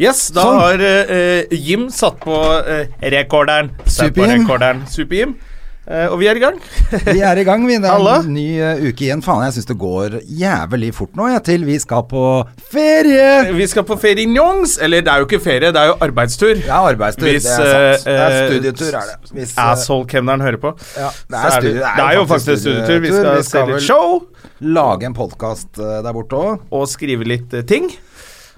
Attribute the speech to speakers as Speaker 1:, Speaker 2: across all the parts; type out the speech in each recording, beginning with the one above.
Speaker 1: Yes, da
Speaker 2: Sånn.
Speaker 1: har eh, eh, Jim satt på eh, rekorderen. Satt på
Speaker 2: Super-Jim.
Speaker 1: rekorderen. Super-Jim. Eh, og vi er i gang.
Speaker 2: Vi er i gang, vi. Det er
Speaker 1: Halla.
Speaker 2: en ny eh, uke igjen. Faen, jeg syns det går jævlig fort nå, jeg, til vi skal på ferie!
Speaker 1: Vi skal på ferie i Njongs. Eller det er jo ikke ferie, det er jo arbeidstur.
Speaker 2: Det er arbeidstur,
Speaker 1: Hvis,
Speaker 2: det er sant. Det er
Speaker 1: eh,
Speaker 2: studietur, er det. Hvis, eh,
Speaker 1: Asshole-kemneren hører på.
Speaker 2: Ja, det
Speaker 1: Så
Speaker 2: er, studie,
Speaker 1: det er jo faktisk studietur. Vi skal, se litt
Speaker 2: vel
Speaker 1: show
Speaker 2: Lage en podkast der borte òg,
Speaker 1: og skrive litt eh, ting.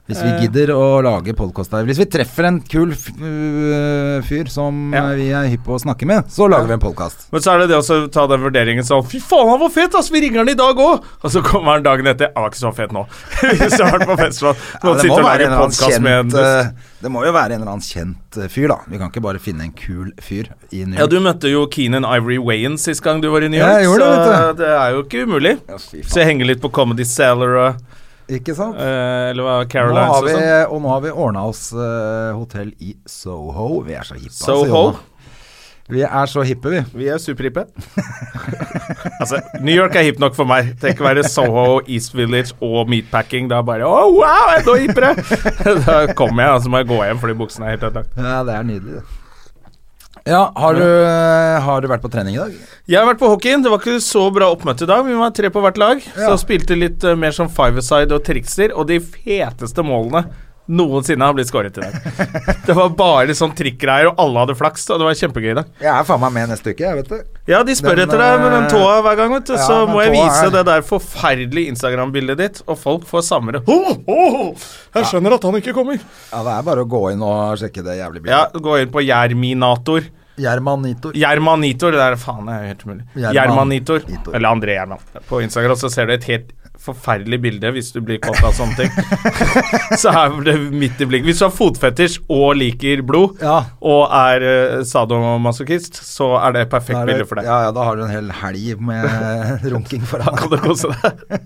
Speaker 2: hvis
Speaker 1: Eh.
Speaker 2: vi gidder å lage podkast der. Hvis vi treffer en kul f- øh, fyr som
Speaker 1: Ja.
Speaker 2: øh, vi er hypp på å snakke med, så lager vi en podkast.
Speaker 1: Men så er det det å så ta den vurderingen sånn Fy faen, han var fet, ass! Vi ringer han i dag òg! Og så kommer han dagen etter. Han var ikke så fet nå. Hvis du har vært på festival.
Speaker 2: Ja,
Speaker 1: Noen
Speaker 2: det, må
Speaker 1: sitter
Speaker 2: være
Speaker 1: og lager
Speaker 2: en eller annen
Speaker 1: podcast med en
Speaker 2: kjent, øh, det må jo være en eller annen kjent øh, fyr, da. Vi kan ikke bare finne en kul fyr i New
Speaker 1: Ja,
Speaker 2: York.
Speaker 1: du møtte jo Keenan Ivory Wayan sist gang du var i New
Speaker 2: Ja,
Speaker 1: York,
Speaker 2: jeg gjorde
Speaker 1: så
Speaker 2: det, vet
Speaker 1: det er jo ikke umulig.
Speaker 2: Ja, fy
Speaker 1: Så jeg henger litt på Comedy Cellar og
Speaker 2: Ikke sant?
Speaker 1: eh, eller hva,
Speaker 2: Nå har
Speaker 1: Carolines og
Speaker 2: vi,
Speaker 1: sånn.
Speaker 2: og nå har vi ordna oss eh, hotell i Soho. Vi er så hippe. altså,
Speaker 1: Soho.
Speaker 2: Jonna. vi er så hippe, vi.
Speaker 1: Vi er superhippe. altså, New York er hipp nok for meg. Tenk å være Soho, East Village og meatpacking. Da bare Å, wow, jeg er nå hippere! da kommer jeg, og så må jeg gå hjem fordi buksene er helt ødelagt.
Speaker 2: Ja, det er nydelig, det. Ja, har du, eh, har du vært på trening i dag?
Speaker 1: Jeg har vært på hockeyen. Det var ikke så bra oppmøte i dag. Vi var tre på hvert lag.
Speaker 2: Ja.
Speaker 1: Så spilte litt eh, mer som five-a-side og trikser. Og de feteste målene noensinne har blitt skåret i dag. det var bare sånn trikkgreier, og alle hadde flaks. Og det var kjempegøy i dag.
Speaker 2: Jeg er faen meg med neste uke, jeg, vet du.
Speaker 1: Ja, de spør
Speaker 2: Den,
Speaker 1: etter deg med den
Speaker 2: eh,
Speaker 1: tåa hver gang, vet du.
Speaker 2: ja,
Speaker 1: så
Speaker 2: den
Speaker 1: må jeg
Speaker 2: tåa
Speaker 1: vise
Speaker 2: er-
Speaker 1: det der forferdelige Instagram-bildet ditt, og folk får samme ho, ho, ho. Jeg skjønner at han ikke kommer.
Speaker 2: Ja, det er bare å gå inn og sjekke det jævlig
Speaker 1: Ja,
Speaker 2: bildet.
Speaker 1: gå inn på Gjerminator.
Speaker 2: Jermanito.
Speaker 1: Gjermanitor, det der faen er jo helt umulig.
Speaker 2: Gjerman-
Speaker 1: Gjermanitor.
Speaker 2: Itor.
Speaker 1: Eller André Gjerman. På Instagram så ser du et helt forferdelig bilde hvis du blir kåt av sånne ting. så er det midt i blikket. Hvis du har fotfetisj og liker blod,
Speaker 2: Ja.
Speaker 1: og er eh, sadomasochist, så er det et
Speaker 2: Da
Speaker 1: perfekt
Speaker 2: er det-
Speaker 1: bilde for deg.
Speaker 2: Ja, ja, da har du en hel helg med runking
Speaker 1: Da kan
Speaker 2: foran.
Speaker 1: du kose deg.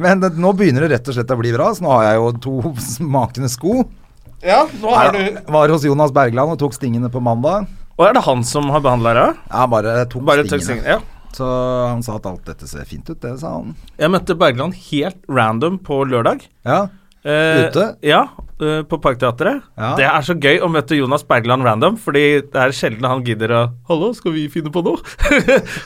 Speaker 2: Men det, nå begynner det rett og slett å bli bra, så nå har jeg jo to smakende sko.
Speaker 1: Ja, nå er du
Speaker 2: Var hos Jonas Bergland og tok stingene på mandag.
Speaker 1: Og er det han som har behandla deg?
Speaker 2: Ja, bare tok
Speaker 1: Bare
Speaker 2: stingene.
Speaker 1: teksting. Ja.
Speaker 2: Så han sa at alt dette ser fint ut, det sa han.
Speaker 1: Jeg møtte Bergland helt random på lørdag.
Speaker 2: Ja,
Speaker 1: Eh,
Speaker 2: Ute?
Speaker 1: Ja, eh, på Parkteatret.
Speaker 2: Ja.
Speaker 1: Det er så gøy å møte Jonas Bergland random, fordi det er sjelden han gidder å 'Hallo, skal vi finne på noe?'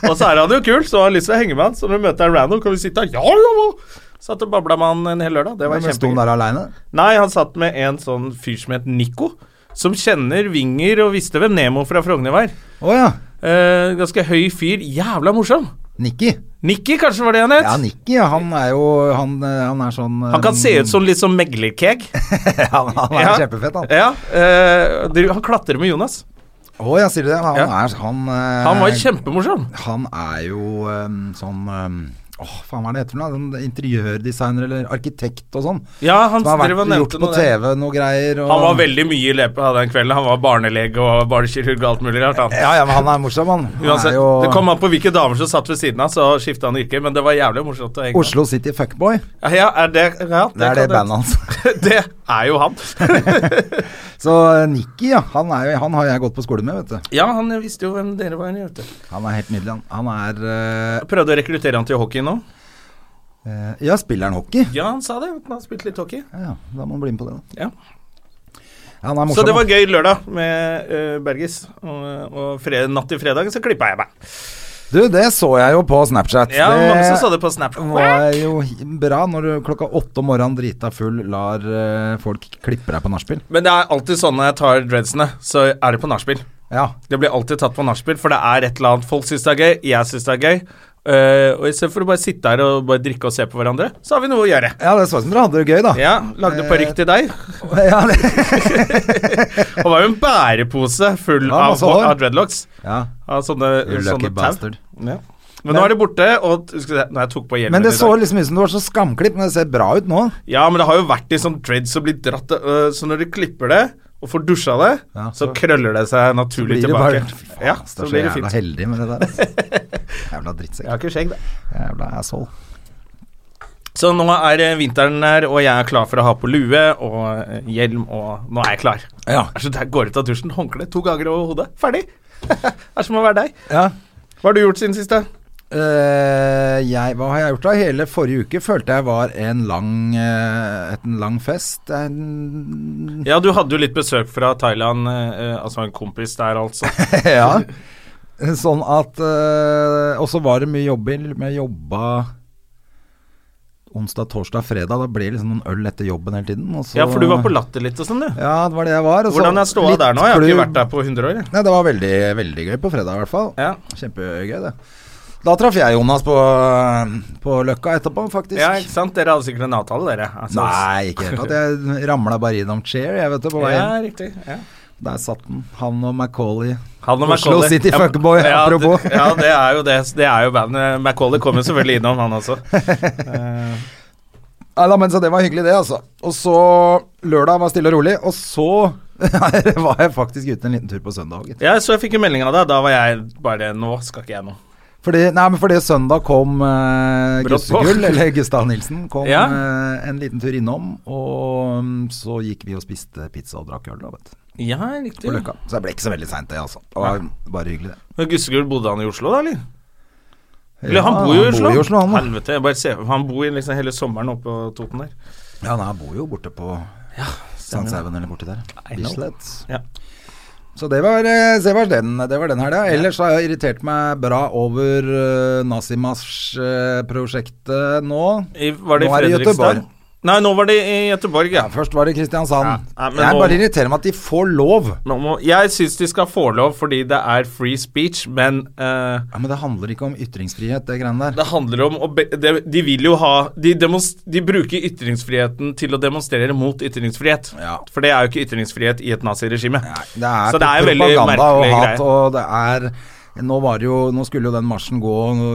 Speaker 1: og så er han jo kul, så har lyst til å henge med han. Så når du møter han random, kan vi sitte her. Ja, ja, ja. Satt og babla med han en hel lørdag. Det var
Speaker 2: Men sto han
Speaker 1: kjempegøy.
Speaker 2: der aleine?
Speaker 1: Nei, han satt med en sånn fyr som het Nico, som kjenner Vinger og visste hvem Nemo fra Frogner var.
Speaker 2: Å ja.
Speaker 1: Eh, ganske høy fyr. Jævla morsom.
Speaker 2: Nikki.
Speaker 1: Nikki, kanskje var det han het?
Speaker 2: Ja, Nikki, ja, han er jo Han, eh, han er sånn eh,
Speaker 1: Han kan se ut som litt sånn meglerkeg.
Speaker 2: ja, Han han er
Speaker 1: Ja.
Speaker 2: kjempefett, han.
Speaker 1: Ja, eh, dere- han klatrer med Jonas.
Speaker 2: Å ja, sier du det? Han
Speaker 1: Ja.
Speaker 2: er han eh,
Speaker 1: Han var kjempemorsom.
Speaker 2: Han er jo eh, sånn eh, Åh, faen hva er det heter for noe? Sånn Interiørdesigner eller arkitekt og sånn.
Speaker 1: Ja, han
Speaker 2: Som har
Speaker 1: drev og
Speaker 2: vært
Speaker 1: nevnte
Speaker 2: gjort på
Speaker 1: noe der.
Speaker 2: TV noe greier. Og,
Speaker 1: Han var veldig mye i løpet av den kvelden. Han var barnelege og barnekirurg og alt mulig rart. Han.
Speaker 2: Ja, ja, men han er morsom, han. han
Speaker 1: Uansett,
Speaker 2: er jo
Speaker 1: Det kom an på hvilke damer som satt ved siden av, så skifta han yrke, men det var jævlig morsomt. å henge med.
Speaker 2: Oslo City Fuckboy.
Speaker 1: Ja, er det, ja,
Speaker 2: Det er det
Speaker 1: kan
Speaker 2: bandet hans.
Speaker 1: det- Det er jo han.
Speaker 2: Så eh, Nikki, ja. Han, er, jo- han har jeg gått på skole med, vet du.
Speaker 1: Ja, han visste jo hvem dere var. Vet du.
Speaker 2: Han er helt nydelig, han. Han er eh,
Speaker 1: Jeg prøvde å rekruttere han til hockey nå.
Speaker 2: Eh, Ja, spiller han hockey?
Speaker 1: Ja, han sa det. at Han har spilt litt hockey.
Speaker 2: Ja, ja, da må han bli med på det. da.
Speaker 1: Ja.
Speaker 2: Ja, han er morsom.
Speaker 1: Så det var
Speaker 2: da.
Speaker 1: gøy lørdag med eh, Bergis. Og, og fred, natt til fredagen så klippa jeg meg.
Speaker 2: Du, det så jeg jo på Snapchat.
Speaker 1: Ja, Mange som så det på Snap.
Speaker 2: var jo bra når du klokka åtte om morgenen drita full lar eh, folk klippe deg på nachspiel.
Speaker 1: Men det er alltid sånn når jeg tar dreadsene, så er det på nachspiel.
Speaker 2: Ja.
Speaker 1: Det blir alltid tatt på nachspiel, for det er et eller annet folk syns det er gøy, jeg syns det er gøy. Eh, og istedenfor å bare sitte her og bare drikke og se på hverandre, så har vi noe å gjøre.
Speaker 2: ja, det så ut som dere hadde det gøy, da.
Speaker 1: Ja, lagde parykk til deg.
Speaker 2: Ja, det-
Speaker 1: Og var jo en bærepose full
Speaker 2: Ja,
Speaker 1: av,
Speaker 2: masse hår.
Speaker 1: av dreadlocks.
Speaker 2: ja.
Speaker 1: Av sånne,
Speaker 2: You lucky
Speaker 1: sånne tau.
Speaker 2: bastard.
Speaker 1: Ja. Men nå er de borte, og t- skal vi se, når jeg tok på hjelmen
Speaker 2: Men det
Speaker 1: i
Speaker 2: så
Speaker 1: dag.
Speaker 2: liksom ut som det var så skamklipp, men det ser bra ut nå.
Speaker 1: Ja, men det har jo vært i sånn dreads og blitt dratt øh, Så når de klipper det og får dusja det,
Speaker 2: Ja,
Speaker 1: så,
Speaker 2: så-
Speaker 1: krøller det seg naturlig
Speaker 2: Blir det
Speaker 1: tilbake.
Speaker 2: bare Faen,
Speaker 1: ja,
Speaker 2: ass, det
Speaker 1: så
Speaker 2: er så
Speaker 1: blir det
Speaker 2: jævla
Speaker 1: fint.
Speaker 2: heldig med det der. ass. Jævla drittsekk.
Speaker 1: Jeg har ikke skjegg, da.
Speaker 2: Jævla asshole.
Speaker 1: Så nå er eh, vinteren her, og jeg er klar for å ha på lue og eh, hjelm, og nå er jeg klar.
Speaker 2: Ja.
Speaker 1: Altså, der går ut av dusjen, håndkle to ganger over hodet. Ferdig! Det er som å være deg.
Speaker 2: ja.
Speaker 1: Hva har du gjort siden siste?
Speaker 2: Eh, jeg, hva har jeg gjort da? Hele forrige uke følte jeg var en lang, eh, et- en lang fest. En,
Speaker 1: Ja, du hadde jo litt besøk fra Thailand, eh, eh, altså en kompis der, altså.
Speaker 2: ja. Sånn at eh, Og så var det mye jobbing. Jeg jobba onsdag, torsdag, fredag. Da ble det liksom noen øl etter jobben hele tiden. Og så,
Speaker 1: Ja, for du var på Latter litt og sånn, du.
Speaker 2: Ja, det var det jeg var. og så
Speaker 1: Hvordan er ståa
Speaker 2: litt
Speaker 1: der nå? Jeg har ikke
Speaker 2: klubb.
Speaker 1: vært der på 100 år, jeg.
Speaker 2: Nei, det var veldig, veldig gøy på fredag i hvert fall.
Speaker 1: Ja.
Speaker 2: Kjempegøy, det. Da traff jeg Jonas på, på Løkka etterpå, faktisk.
Speaker 1: Ja, ikke sant? Dere hadde sikkert en avtale, dere. Altså,
Speaker 2: Nei, ikke helt. Jeg ramla bare innom Chair, jeg, vet du, på vei
Speaker 1: Ja,
Speaker 2: hjem.
Speaker 1: riktig. Ja.
Speaker 2: Der satt den. Han og Macauley.
Speaker 1: Han og
Speaker 2: Oslo
Speaker 1: Macaulay.
Speaker 2: City
Speaker 1: Ja,
Speaker 2: Fuckboy,
Speaker 1: ja, det-
Speaker 2: apropos.
Speaker 1: Ja, det er jo det. Det er jo bandet. Macaulay kommer selvfølgelig innom, han også.
Speaker 2: Nei da, men så det var hyggelig, det, altså. Og så Lørdag var stille og rolig, og så var jeg faktisk ute en liten tur på søndag. gitt.
Speaker 1: Ja, så jeg fikk en melding av deg. Da var jeg bare Nå skal ikke jeg noe.
Speaker 2: Fordi, nei, men fordi søndag kom uh,
Speaker 1: Brått på.
Speaker 2: Gussegull, eller Gustav Nilsen, kom
Speaker 1: Ja.
Speaker 2: eh, en liten tur innom. Og mm, så gikk vi og spiste pizza og drakk øl da, vet du,
Speaker 1: Ja, riktig.
Speaker 2: på Løkka. Så det ble ikke så veldig seint, det, altså. Det var bare hyggelig, det.
Speaker 1: Men Gussegul, bodde han i Oslo, da, eller? Eller
Speaker 2: Ja,
Speaker 1: han bor jo i Oslo.
Speaker 2: han, da.
Speaker 1: Helvete, jeg bare ser Han bor liksom hele sommeren oppe på Toten der.
Speaker 2: Ja, nei, han bor jo borte på Sandshaugen eller borti der.
Speaker 1: I know.
Speaker 2: Bislett.
Speaker 1: Ja.
Speaker 2: Så det var, eh, så det var den, det var den helga. Ellers har jeg irritert meg bra over eh, Nasimas-prosjektet nå.
Speaker 1: I, var det i
Speaker 2: Nå er det i
Speaker 1: Fredrikstad?
Speaker 2: Göteborg.
Speaker 1: Nei, nå var det i Gøteborg, ja.
Speaker 2: Ja, først var det Kristiansand.
Speaker 1: Ja, nei, men
Speaker 2: jeg
Speaker 1: nå-
Speaker 2: bare irriterer meg at de får lov.
Speaker 1: Nå må, jeg syns de skal få lov fordi det er free speech, men eh,
Speaker 2: Ja, Men det handler ikke om ytringsfrihet, det greiene der.
Speaker 1: Det handler om å be, de, de vil jo ha de, demonst, de bruker ytringsfriheten til å demonstrere mot ytringsfrihet.
Speaker 2: Ja.
Speaker 1: For det er jo ikke ytringsfrihet i et naziregime.
Speaker 2: Det er,
Speaker 1: Så det er veldig
Speaker 2: propaganda og
Speaker 1: merkelig
Speaker 2: hat,
Speaker 1: greie.
Speaker 2: og det er nå, var det jo, nå skulle jo den marsjen gå Nå,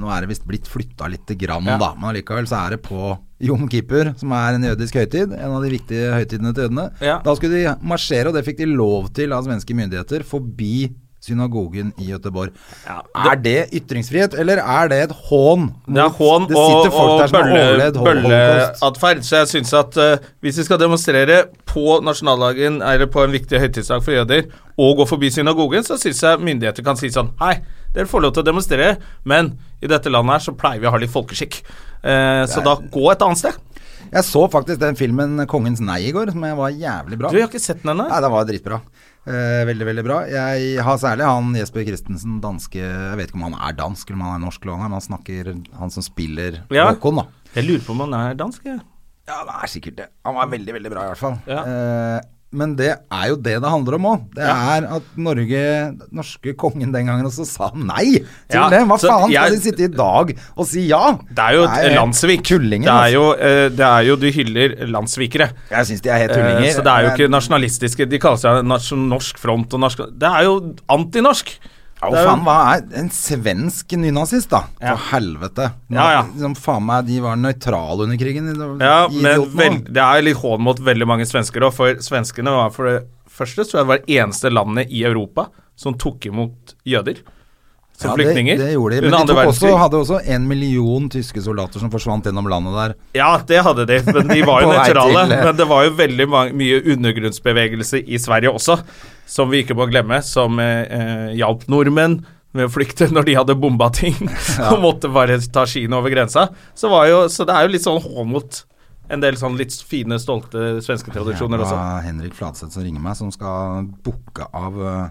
Speaker 2: nå er det visst blitt flytta lite grann, da. Men allikevel så er det på Jom Kippur, som er en jødisk høytid. En av de viktige høytidene til jødene.
Speaker 1: Ja.
Speaker 2: Da skulle de marsjere, og det fikk de lov til av svenske myndigheter, forbi synagogen i Göteborg. er det ytringsfrihet, eller er det et hån?
Speaker 1: Det er
Speaker 2: mot-
Speaker 1: hån
Speaker 2: det
Speaker 1: og,
Speaker 2: sitter folk
Speaker 1: og
Speaker 2: der som har
Speaker 1: bølle-
Speaker 2: overlevd holocaust.
Speaker 1: bølleatferd. Så jeg syns at eh, hvis de skal demonstrere på nasjonaldagen eller på en viktig høytidsdag for jøder, og gå forbi synagogen, så syns jeg myndigheter kan si sånn Hei, dere får lov til å demonstrere, men i dette landet her så pleier vi å ha litt folkeskikk. Eh, så da gå et annet sted.
Speaker 2: Jeg så faktisk den filmen 'Kongens nei' i går, som jeg var jævlig bra.
Speaker 1: Du, jeg har ikke sett den ennå.
Speaker 2: Nei, det var dritbra. Eh, veldig, veldig bra. Jeg har særlig han Jesper Christensen, danske Jeg vet ikke om han er dansk eller om han er norsk, eller hva han er, men han snakker han som spiller
Speaker 1: Ja.
Speaker 2: Håkon, da.
Speaker 1: Jeg lurer på om han er dansk. jeg.
Speaker 2: Ja, det er sikkert det. Han var veldig, veldig bra i hvert fall.
Speaker 1: Ja.
Speaker 2: Eh, men det er jo det det handler om òg. Det er at Norge, norske kongen den gangen også sa nei til
Speaker 1: Ja,
Speaker 2: det. Hva
Speaker 1: så
Speaker 2: faen skal
Speaker 1: jeg-
Speaker 2: de sitte i dag og si ja?
Speaker 1: Det er jo et landsvik.
Speaker 2: Tullinger.
Speaker 1: det, er
Speaker 2: altså.
Speaker 1: jo, eh, det er jo Du hyller landssvikere.
Speaker 2: Jeg syns de er helt tullinger.
Speaker 1: Eh, Så det er jo
Speaker 2: Men-
Speaker 1: ikke nasjonalistiske De kaller seg nasjon- Norsk Front og norsk Det er jo antinorsk!
Speaker 2: Ja,
Speaker 1: Det er jo-
Speaker 2: faen, hva er en svensk nynazist, da?
Speaker 1: Ja.
Speaker 2: For helvete. Nå,
Speaker 1: Ja, ja.
Speaker 2: Liksom, faen meg, de var nøytrale under krigen. de-
Speaker 1: Ja,
Speaker 2: de
Speaker 1: men
Speaker 2: idiotene.
Speaker 1: vel, det er litt hån mot veldig mange svensker òg, for svenskene var for det første tror jeg det var det eneste landet i Europa som tok imot jøder som
Speaker 2: Ja,
Speaker 1: flyktninger.
Speaker 2: Det, det gjorde de. Men de
Speaker 1: under andre
Speaker 2: tok også,
Speaker 1: verdenskrig.
Speaker 2: hadde også en million tyske soldater som forsvant gjennom landet der.
Speaker 1: Ja, det hadde de, men de var jo
Speaker 2: På vei
Speaker 1: nøytrale.
Speaker 2: til- eh.
Speaker 1: Men det var jo veldig ma- mye undergrunnsbevegelse i Sverige også, som vi ikke må glemme, som eh, eh, hjalp nordmenn med å flykte når de hadde bomba ting og måtte bare ta skiene over grensa. Så, var jo, så det er jo litt sånn hån mot en del sånn litt fine, stolte svenske tradisjoner
Speaker 2: Det
Speaker 1: også.
Speaker 2: var Henrik Fladseth som ringer meg, som skal booke av øh,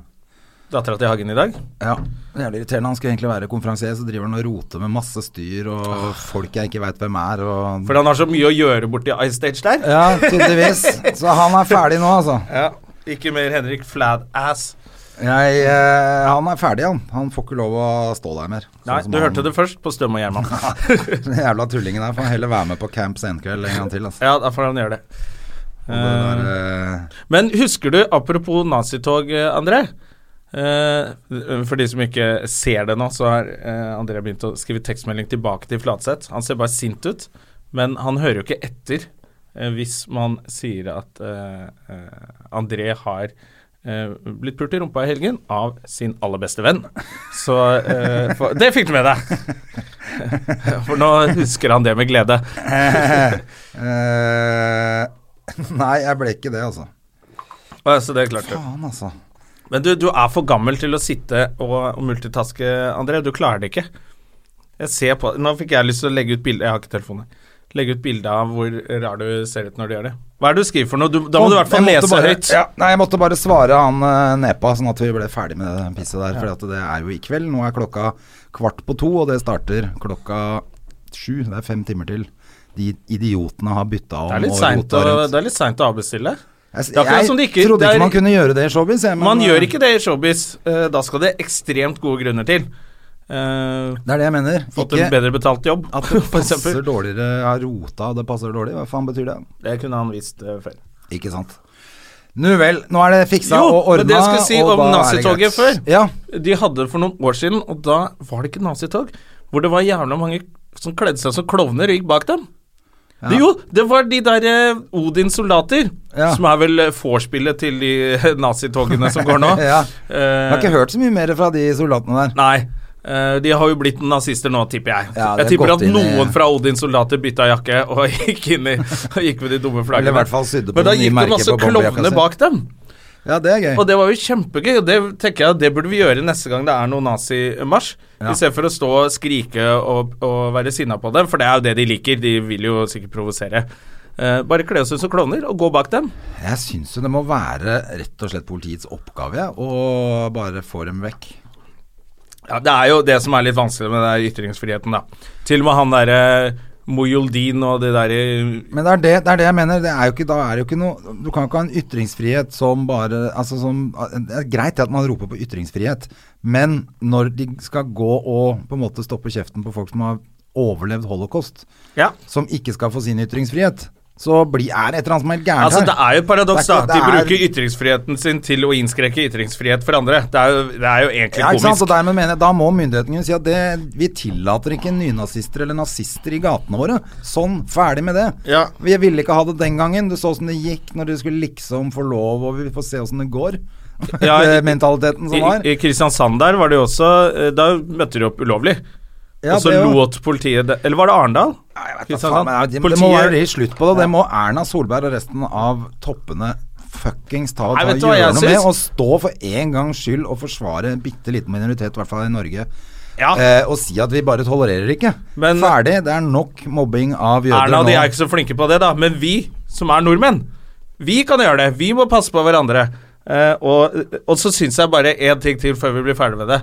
Speaker 1: Dattera til Hagen i dag.
Speaker 2: Ja, jævlig irriterende. Han skulle egentlig være konferansier, så driver han og roter med masse styr og folk jeg ikke veit hvem er, og
Speaker 1: Ah. For han har så mye å gjøre borti Ice Stage der.
Speaker 2: Ja, tydeligvis. Så han er ferdig nå, altså.
Speaker 1: Ja. Ikke mer Henrik Fladass.
Speaker 2: Jeg, eh, han er ferdig, han. Han får ikke lov å stå der mer. Sånn
Speaker 1: Nei, du hørte det først på Støm og Gjerman.
Speaker 2: Den jævla tullingen der får heller være med på Camp Senkveld en gang til. Altså.
Speaker 1: Ja, da får han gjøre det.
Speaker 2: Og det der, eh,
Speaker 1: Men husker du, apropos nazitog, eh, André. Eh, for de som ikke ser det nå, så har eh, André begynt å skrive tekstmelding tilbake til Flatseth. Han ser bare sint ut, men han hører jo ikke etter eh, hvis man sier at eh, eh, André har eh, blitt pult i rumpa i helgen av sin aller beste venn. Så eh, for, Det fikk du med deg! For nå husker han det med glede.
Speaker 2: Eh, nei, jeg ble ikke det, altså.
Speaker 1: Eh, Så det klarte du.
Speaker 2: Faen, altså.
Speaker 1: Men du, du er for gammel til å sitte og, og multitaske, André. Du klarer det ikke. Jeg ser på Nå fikk jeg lyst til å legge ut bilde Jeg har ikke telefonen. Legge ut bilde av hvor rar du ser ut når du gjør det. Hva er det du skriver for noe? Du, da må du i hvert fall
Speaker 2: Jeg måtte
Speaker 1: lese
Speaker 2: bare,
Speaker 1: høyt.
Speaker 2: Ja, nei, jeg måtte bare svare han eh, nepa, sånn at vi ble ferdig med det pisset der. For at det er jo i kveld. Nå er klokka kvart på to, og det starter klokka sju. Det er fem timer til. De idiotene har bytta om.
Speaker 1: Det er litt
Speaker 2: og
Speaker 1: seint
Speaker 2: rota
Speaker 1: å,
Speaker 2: rundt.
Speaker 1: det er litt sent å avbestille.
Speaker 2: Jeg,
Speaker 1: det er akkurat som de ikke-
Speaker 2: trodde
Speaker 1: det er-
Speaker 2: ikke man kunne gjøre det i showbiz. jeg, men,
Speaker 1: Man
Speaker 2: eh,
Speaker 1: gjør ikke det i showbiz. Eh, Da skal det ekstremt gode grunner til. Eh,
Speaker 2: Det er det jeg mener.
Speaker 1: fått
Speaker 2: Ikke
Speaker 1: en bedre betalt jobb,
Speaker 2: at det
Speaker 1: for
Speaker 2: passer
Speaker 1: eksempel.
Speaker 2: dårligere ja, rota, det passer dårlig. Hva faen betyr det?
Speaker 1: Det kunne han visst eh, før.
Speaker 2: Ikke sant. Nu vel, nå er det fiksa
Speaker 1: Jo,
Speaker 2: og ordna.
Speaker 1: men det jeg skulle si
Speaker 2: og da
Speaker 1: om
Speaker 2: er det
Speaker 1: nazitoget
Speaker 2: greit.
Speaker 1: før.
Speaker 2: Ja,
Speaker 1: De hadde for noen år siden, og da var det ikke nazitog, hvor det var jævla mange som kledde seg som klovner og gikk bak dem. Det, jo, det var de der eh, Odins soldater,
Speaker 2: Ja.
Speaker 1: som er vel eh, vorspielet til de eh, nazitogene som går nå.
Speaker 2: Ja. Jeg har
Speaker 1: Eh,
Speaker 2: ikke hørt så mye mer fra de soldatene der.
Speaker 1: Nei. Eh, de har jo blitt nazister nå, tipper jeg.
Speaker 2: Ja, de
Speaker 1: jeg
Speaker 2: har
Speaker 1: tipper
Speaker 2: gått
Speaker 1: at
Speaker 2: inn i-
Speaker 1: noen fra Odins soldater bytta jakke og gikk inn i og gikk med de dumme flaggene.
Speaker 2: Eller i hvert fall sydde på
Speaker 1: Men da
Speaker 2: det nye
Speaker 1: gikk det
Speaker 2: merket
Speaker 1: masse
Speaker 2: på bombejakka
Speaker 1: klovner
Speaker 2: si.
Speaker 1: bak dem.
Speaker 2: Ja, det er gøy.
Speaker 1: Og det var jo kjempegøy, og det tenker jeg at det burde vi gjøre neste gang det er noen nazimarsj.
Speaker 2: Ja.
Speaker 1: I stedet for å stå og skrike og, og være sinna på dem, for det er jo det de liker. De vil jo sikkert provosere. Eh, bare kle oss ut som klovner og gå bak dem.
Speaker 2: Jeg syns jo det må være rett og slett politiets oppgave ja, å bare få dem vekk.
Speaker 1: Ja, Det er jo det som er litt vanskelig med den der ytringsfriheten, da. Til og med han derre Mojoldin og det derre
Speaker 2: Men det er det, det er det jeg mener. Det er jo ikke, da er det jo ikke noe Du kan ikke ha en ytringsfrihet som bare altså som, Det er greit at man roper på ytringsfrihet, men når de skal gå og på en måte stoppe kjeften på folk som har overlevd holocaust,
Speaker 1: Ja.
Speaker 2: som ikke skal få sin ytringsfrihet, så blir, er det et eller annet som er helt gærent
Speaker 1: Altså,
Speaker 2: her.
Speaker 1: det er jo et paradoks
Speaker 2: Det er ikke-
Speaker 1: da, at de
Speaker 2: det er-
Speaker 1: bruker ytringsfriheten sin til å innskrenke ytringsfrihet for andre. Det er jo, det er jo egentlig
Speaker 2: Ja, ikke sant?
Speaker 1: komisk.
Speaker 2: Så dermed mener jeg, Da må myndighetene kunne si at det, vi tillater ikke nynazister eller nazister i gatene våre. Sånn, ferdig med det.
Speaker 1: Ja.
Speaker 2: Vi ville ikke ha det den gangen. Du så åssen det gikk når du skulle liksom få lov, og vi får se åssen det går.
Speaker 1: Ja, i-
Speaker 2: Mentaliteten som var.
Speaker 1: I, I Kristiansand der var det jo også eh, Da møtte de opp ulovlig.
Speaker 2: Ja,
Speaker 1: og så
Speaker 2: det jo-
Speaker 1: lot politiet det Eller var det Arendal?
Speaker 2: Nei, jeg vet da
Speaker 1: Kristiansand.
Speaker 2: faen, men det, det må
Speaker 1: Politiet-
Speaker 2: være litt slutt på det. Det må Erna Solberg og resten av toppene fuckings ta,
Speaker 1: Nei,
Speaker 2: ta
Speaker 1: vet du hva
Speaker 2: gjøre
Speaker 1: jeg
Speaker 2: noe med.
Speaker 1: syns?
Speaker 2: Og stå for en gangs skyld og forsvare en bitte liten minoritet, i hvert fall i Norge.
Speaker 1: Ja.
Speaker 2: Eh, og si at vi bare tolererer ikke.
Speaker 1: Men-
Speaker 2: Ferdig. Det er nok mobbing av jøder
Speaker 1: Erna og
Speaker 2: nå.
Speaker 1: de er ikke så flinke på det, da. Men vi som er nordmenn, vi kan gjøre det. Vi må passe på hverandre. Eh, og, og så syns jeg bare én ting til før vi blir ferdig med det.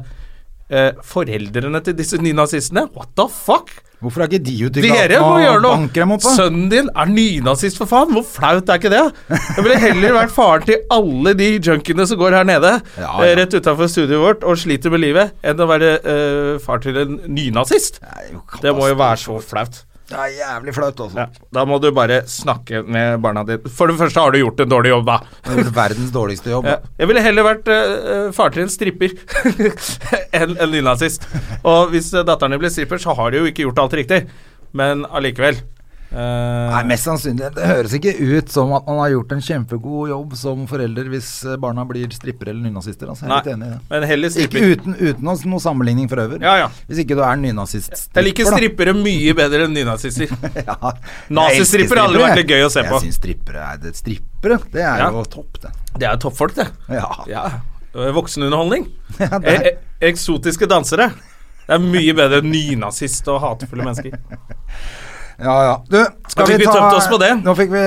Speaker 1: Eh, foreldrene til disse nynazistene, what the fuck?
Speaker 2: Hvorfor er ikke de ute i
Speaker 1: Dere
Speaker 2: gaten
Speaker 1: må gjøre
Speaker 2: og banker dem
Speaker 1: noe!
Speaker 2: opp? da?
Speaker 1: Sønnen din er nynazist, for faen! Hvor flaut er ikke det? Jeg ville heller vært faren til alle de junkiene som går her nede,
Speaker 2: Ja, ja.
Speaker 1: eh, rett utafor studioet vårt, og sliter med livet, enn å være eh, far til en nynazist.
Speaker 2: Det er jo katastrofe.
Speaker 1: Det må jo være så flaut.
Speaker 2: Det er jævlig flaut, altså.
Speaker 1: Ja, da må du bare snakke med barna dine. For det første har du gjort en dårlig jobb, da.
Speaker 2: Det er vel verdens dårligste jobb.
Speaker 1: Ja. Jeg ville heller vært eh, eh, far til en stripper enn en nynazist. Og hvis eh, datteren din blir stripper, så har de jo ikke gjort alt riktig. Men allikevel. eh,
Speaker 2: Nei, mest sannsynlig. Det høres ikke ut som at man har gjort en kjempegod jobb som forelder hvis eh, barna blir strippere eller nynazister. Altså, jeg er litt
Speaker 1: nei,
Speaker 2: enig i det.
Speaker 1: men heller
Speaker 2: Ikke
Speaker 1: stripper.
Speaker 2: uten, uten oss noe sammenligning for øvrig.
Speaker 1: Ja, ja.
Speaker 2: Hvis ikke du er en nynazist.
Speaker 1: Jeg liker strippere mye bedre enn nynazister.
Speaker 2: Ja.
Speaker 1: Nazistripper
Speaker 2: Jeg elsker
Speaker 1: har aldri
Speaker 2: strippere,
Speaker 1: vært
Speaker 2: jeg.
Speaker 1: litt gøy å se på.
Speaker 2: Jeg syns strippere er det Strippere, det er
Speaker 1: Ja.
Speaker 2: jo topp, det.
Speaker 1: Det er jo toppfolk, det.
Speaker 2: Ja.
Speaker 1: Ja. Eh, Voksenunderholdning.
Speaker 2: Ja, det
Speaker 1: E
Speaker 2: er-
Speaker 1: e eksotiske dansere. Det er mye bedre enn nynazist og hatefulle mennesker.
Speaker 2: Ja, ja. Du, skal
Speaker 1: Da fikk
Speaker 2: vi
Speaker 1: vi
Speaker 2: ta
Speaker 1: tømt oss på det.
Speaker 2: Nå fikk vi,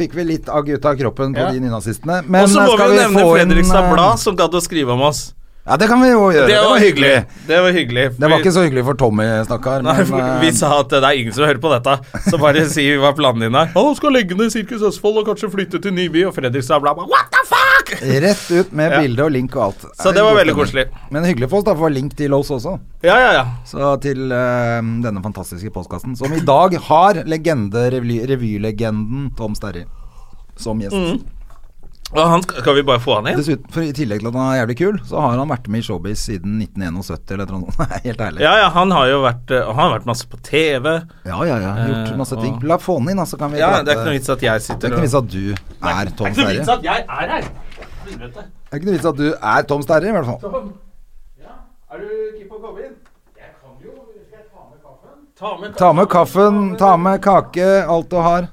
Speaker 2: fikk vi litt agg ut av kroppen på
Speaker 1: Ja.
Speaker 2: de nynazistene. eh,
Speaker 1: Og så må vi
Speaker 2: skal
Speaker 1: jo nevne
Speaker 2: få inn,
Speaker 1: Fredrikstad
Speaker 2: eh,
Speaker 1: Blad, som gadd å skrive om oss.
Speaker 2: Ja, det kan vi jo gjøre.
Speaker 1: Det var hyggelig. Det var hyggelig.
Speaker 2: Det var
Speaker 1: fordi-
Speaker 2: ikke så hyggelig for Tommy, stakkar.
Speaker 1: Nei,
Speaker 2: men,
Speaker 1: for
Speaker 2: eh,
Speaker 1: vi sa at det er ingen som hører på dette, så bare si hva planen din er. Han skal legge ned Sirkus Østfold og kanskje flytte til Nyby, og Fredrikstad Blad bare What the fuck?!
Speaker 2: Rett ut med
Speaker 1: Ja.
Speaker 2: bilde og link og alt.
Speaker 1: Så det var veldig koselig.
Speaker 2: Men hyggelig for oss, da, for det var link til oss også.
Speaker 1: Ja, ja, ja.
Speaker 2: Så til eh, denne fantastiske postkassen, som i dag
Speaker 1: Mm.
Speaker 2: har legende, revy, revylegenden Tom Sterry som gjest.
Speaker 1: Og han, skal skal vi bare få han inn?
Speaker 2: Dessuten, for I tillegg til at han er jævlig kul, så har han vært med i showbiz siden 1971 eller noe sånt. Nei, Helt ærlig.
Speaker 1: Ja, ja, han har jo vært, eh, han har vært masse på TV.
Speaker 2: Ja, ja, ja. Gjort
Speaker 1: Eh,
Speaker 2: masse
Speaker 1: og-
Speaker 2: ting. La få han inn, da, så kan vi
Speaker 1: Ja,
Speaker 2: prate.
Speaker 1: Det er ikke noe vits at jeg
Speaker 2: Det er
Speaker 1: sitter
Speaker 2: ikke noe
Speaker 1: og
Speaker 2: vits at du er Tom Sterre.
Speaker 1: at jeg er her! Helvete.
Speaker 2: Det er ikke noe vits at du er Tom Sterre, i hvert fall.
Speaker 1: Er du keen på å komme inn? Jeg kan jo. Skal jeg ta med kaffen? Ta med
Speaker 2: Ta med kaffen, ta med kake, alt du har.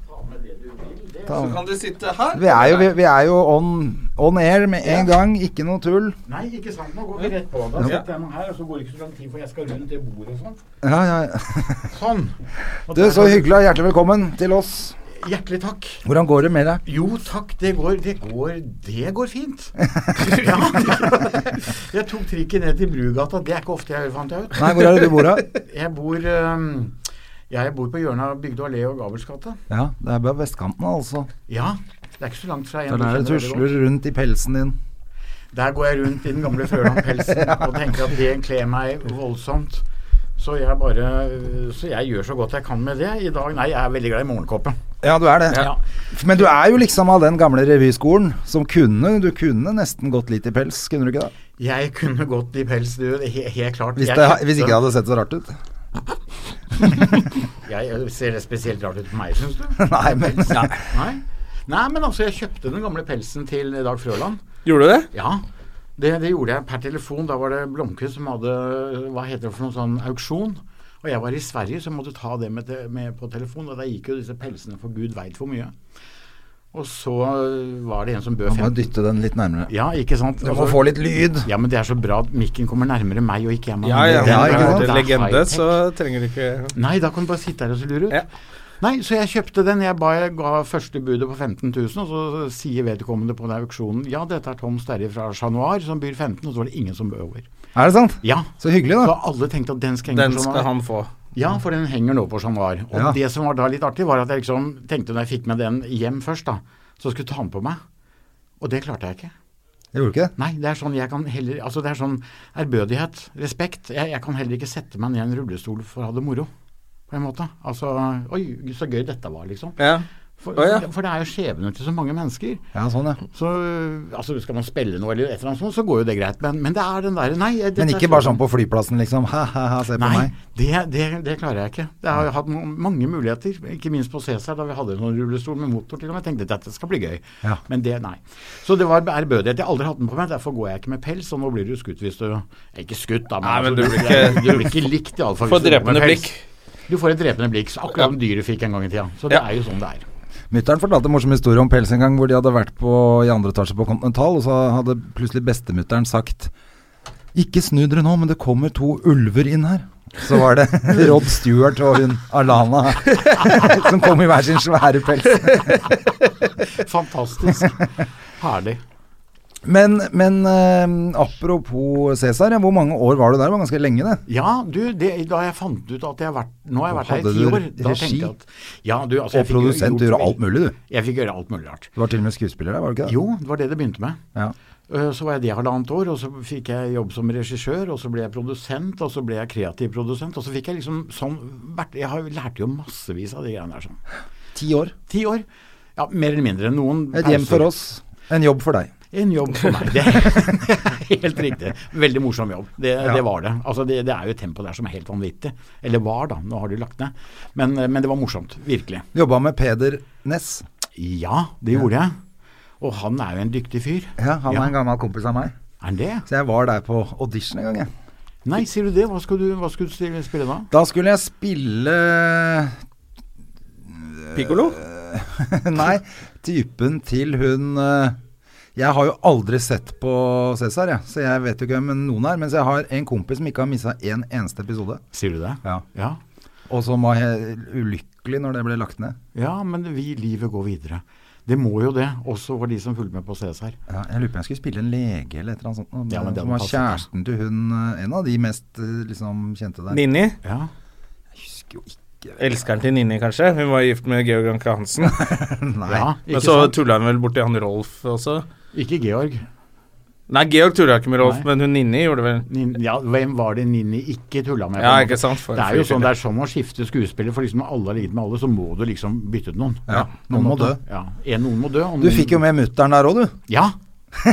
Speaker 2: Ta
Speaker 1: Så
Speaker 2: med.
Speaker 1: kan du sitte her.
Speaker 2: Vi er jo, vi, vi er jo on, on air med en gang, ikke noe tull.
Speaker 3: Nei, ikke sant. Nå går vi rett på. Da sitter jeg nå her, og så går det ikke så lang tid, for jeg skal rundt det bordet og sånn.
Speaker 2: Ja, ja.
Speaker 3: Sånn.
Speaker 2: Du, så hyggelig og hjertelig velkommen til oss.
Speaker 3: Hjertelig takk.
Speaker 2: Hvordan går det med deg?
Speaker 3: Jo takk, det går, det går, det går fint. ja, jeg tok trikken ned til Brugata. Det er ikke ofte jeg fant jeg ut.
Speaker 2: Nei, hvor er det du bor, da?
Speaker 3: Jeg bor, øhm, jeg bor på hjørnet av Bygdø allé og Gabelsgata.
Speaker 2: Ja, det er bare vestkanten, altså.
Speaker 3: Ja, det er ikke så langt fra
Speaker 2: Det
Speaker 3: en
Speaker 2: er der
Speaker 3: du
Speaker 2: det
Speaker 3: kjenner veldig
Speaker 2: tusler
Speaker 3: godt.
Speaker 2: rundt i pelsen din.
Speaker 3: Der går jeg rundt i den gamle førlandpelsen og tenker at det kler meg voldsomt. Så jeg bare Så jeg gjør så godt jeg kan med det. I dag Nei, jeg er veldig glad i morgenkåpe.
Speaker 2: Ja, du er det.
Speaker 3: Ja.
Speaker 2: Men du er jo liksom av den gamle revyskolen som kunne Du kunne nesten gått litt i pels, kunne du ikke det?
Speaker 3: Jeg kunne gått i pels, du. det er he- Helt klart.
Speaker 2: Hvis,
Speaker 3: Jeg
Speaker 2: det,
Speaker 3: kjøpte-
Speaker 2: hvis ikke det hadde sett så rart ut.
Speaker 3: Jeg ser det spesielt rart ut på meg, syns du?
Speaker 2: Nei, men
Speaker 3: Nei. Nei. Nei, men altså, jeg kjøpte den gamle pelsen til Dag Frøland.
Speaker 1: Gjorde du det?
Speaker 3: Ja, det, det gjorde jeg per telefon. Da var det Blomkvist som hadde hva heter det for noen sånn auksjon. Og jeg var i Sverige, så jeg måtte ta det med, te- med på telefon. Og da gikk jo disse pelsene for gud veit hvor mye. Og så var det en som bød
Speaker 2: Du må
Speaker 3: fem.
Speaker 2: dytte den litt nærmere.
Speaker 3: Ja, ikke sant?
Speaker 2: Du
Speaker 3: Og
Speaker 2: må
Speaker 3: så-
Speaker 2: få litt lyd.
Speaker 3: Ja, men det er så bra at mikken kommer nærmere meg og ikke jeg. meg.
Speaker 1: Ja, ja.
Speaker 3: Det er-
Speaker 2: Ja, ikke sant?
Speaker 3: det er
Speaker 1: legende,
Speaker 3: high-tech.
Speaker 1: så trenger du ikke
Speaker 3: Nei, da kan du bare sitte her og se lur ut.
Speaker 1: Ja.
Speaker 3: Nei, så jeg kjøpte den. Jeg, ba, jeg ga første budet på 15 000, og så sier vedkommende på den auksjonen ja, dette er Tom Sterry fra Chat Noir som byr 15 og så var det ingen som bød over.
Speaker 2: Er det sant?
Speaker 3: Ja.
Speaker 2: Så hyggelig,
Speaker 3: Så
Speaker 2: da.
Speaker 3: alle tenkte at den skal henge
Speaker 1: Den
Speaker 3: på Chat
Speaker 1: skal
Speaker 3: Noir.
Speaker 1: han få.
Speaker 3: Ja, for den henger nå på Chat Noir. Og
Speaker 2: Ja.
Speaker 3: det som var da litt artig, var at jeg liksom tenkte når jeg fikk med den hjem først, da, så skulle jeg ta den på meg. Og det klarte jeg ikke.
Speaker 2: Jeg gjorde ikke det.
Speaker 3: Nei, det er sånn jeg kan heller Altså, det er sånn ærbødighet, respekt. Jeg, jeg kan heller ikke sette meg ned i en rullestol for å ha det moro, på en måte. Altså Oi, så gøy dette var, liksom.
Speaker 1: Ja.
Speaker 3: For,
Speaker 1: Å, ja.
Speaker 3: for, for det er jo skjebnen til så mange mennesker.
Speaker 2: Ja, sånn, ja.
Speaker 3: Så øh, altså, skal man spille noe eller et eller annet sånt, så går jo det greit. Men, men det er den derre Nei.
Speaker 2: Men
Speaker 3: jeg- dette er
Speaker 2: ikke bare
Speaker 3: skjebnen.
Speaker 2: sånn på flyplassen, liksom. Ha-ha-ha, se på
Speaker 3: Nei,
Speaker 2: meg.
Speaker 3: det, det, det klarer jeg ikke. Jeg har jo hatt ma- mange muligheter, ikke minst på Cæsar, da vi hadde en sånn rullestol med motor til og med. Jeg tenkte dette skal bli gøy,
Speaker 2: Ja.
Speaker 3: men det, nei. Så det var ærbødighet. Jeg har aldri hatt den på meg, derfor går jeg ikke med pels, og nå blir du skutt hvis du Ikke skutt, da,
Speaker 1: Nei, men
Speaker 3: altså,
Speaker 1: du blir ikke-
Speaker 3: du blir ikke likt, iallfall.
Speaker 1: Får drepende blikk.
Speaker 3: Du får et drepende blikk, så akkurat som dyret fikk en gang i tida. Så det
Speaker 1: Ja.
Speaker 3: er jo sånn det er.
Speaker 2: Mutter'n fortalte en morsom historie om pels en gang, hvor de hadde vært på, i andre etasje på Continental, og så hadde plutselig bestemutter'n sagt Ikke snu dere nå, men det kommer to ulver inn her. Så var det Rod Stewart og hun Alana som kom i hver sin svære pels.
Speaker 3: Fantastisk. Herlig.
Speaker 2: Men, men eh, apropos Cæsar, ja, hvor mange år var du der? Det var ganske lenge, det.
Speaker 3: Ja, du, det, da jeg fant ut at jeg har vært Nå har jeg vært her
Speaker 2: Hadde
Speaker 3: i
Speaker 2: du
Speaker 3: ti år. Da
Speaker 2: regi?
Speaker 3: tenkte jeg at ja, du, altså,
Speaker 2: Og
Speaker 3: jeg fikk jo
Speaker 2: produsent, du
Speaker 3: gjort-
Speaker 2: gjorde alt mulig, du.
Speaker 3: Jeg fikk gjøre alt mulig rart.
Speaker 2: Du var til og med skuespiller der, var du ikke det?
Speaker 3: Jo, det var det det begynte med.
Speaker 2: Ja.
Speaker 3: Eh, Så var jeg det halvannet år, og så fikk jeg jobb som regissør, og så ble jeg produsent, og så ble jeg kreativ produsent, og så fikk jeg liksom sånn vært- Jeg har jo lært jo massevis av de greiene der sånn.
Speaker 2: Ti år.
Speaker 3: Ti år. Ja, mer eller mindre. Noen
Speaker 2: Et hjem for oss, en jobb for deg.
Speaker 3: En jobb for meg. Det er helt riktig. Veldig morsom jobb. Det, det var det. Altså, det, det er jo et tempo der som er helt vanvittig. Eller var, da. Nå har det jo lagt ned. Men, eh, men det var morsomt. Virkelig.
Speaker 2: Jobba med Peder Næss.
Speaker 3: Ja, det gjorde jeg. Og han er jo en dyktig fyr.
Speaker 2: Ja, han
Speaker 3: Ja.
Speaker 2: er en gammel kompis av meg.
Speaker 3: Er han det?
Speaker 2: Så jeg var der på audition en gang, jeg.
Speaker 3: Nei, sier du det? Hva skal du, hva skal du stille- spille da?
Speaker 2: Da skulle jeg spille
Speaker 1: Pikkolo?
Speaker 2: Nei, typen til hun eh, Jeg har jo aldri sett på Cæsar, jeg, så jeg vet jo ikke hvem noen er. Mens jeg har en kompis som ikke har missa en eneste episode,
Speaker 3: Sier du det?
Speaker 2: Ja.
Speaker 3: ja.
Speaker 2: og som var he- ulykkelig når det ble lagt ned.
Speaker 3: Ja, men vi, livet går videre. Det må jo det, også for de som fulgte med på Cæsar.
Speaker 2: Ja, jeg lurer på om jeg skulle spille en lege eller et eller annet sånt. nå,
Speaker 3: Ja, men det
Speaker 2: som var
Speaker 3: hadde passet.
Speaker 2: kjæresten til hun eh, En av de mest eh, liksom kjente der.
Speaker 1: Ninni?
Speaker 3: Ja.
Speaker 2: Jeg husker jo ikke
Speaker 1: Elskeren til Ninni, kanskje? Hun var gift med Georg Anke Hansen.
Speaker 2: Nei.
Speaker 3: ja
Speaker 1: Men
Speaker 3: ikke,
Speaker 1: så
Speaker 3: sant?
Speaker 1: tulla hun vel borti han Rolf også.
Speaker 3: ikke Georg.
Speaker 1: Nei, Georg tulla ikke med Rolf,
Speaker 3: Nei.
Speaker 1: men hun Ninni gjorde vel
Speaker 3: Nin, ja, hvem var det Ninni ikke tulla med? på en
Speaker 1: Ja,
Speaker 3: måte?
Speaker 1: ikke sant, for-
Speaker 3: det er jo
Speaker 1: for-
Speaker 3: sånn, det er som å skifte skuespiller, for liksom når alle har ligget med alle, så må du liksom bytte ut noen.
Speaker 2: Ja, noen må dø.
Speaker 3: Ja, en, noen må dø.
Speaker 2: Du
Speaker 3: og noen-
Speaker 2: fikk jo med mutter'n der òg, du.
Speaker 3: Ja,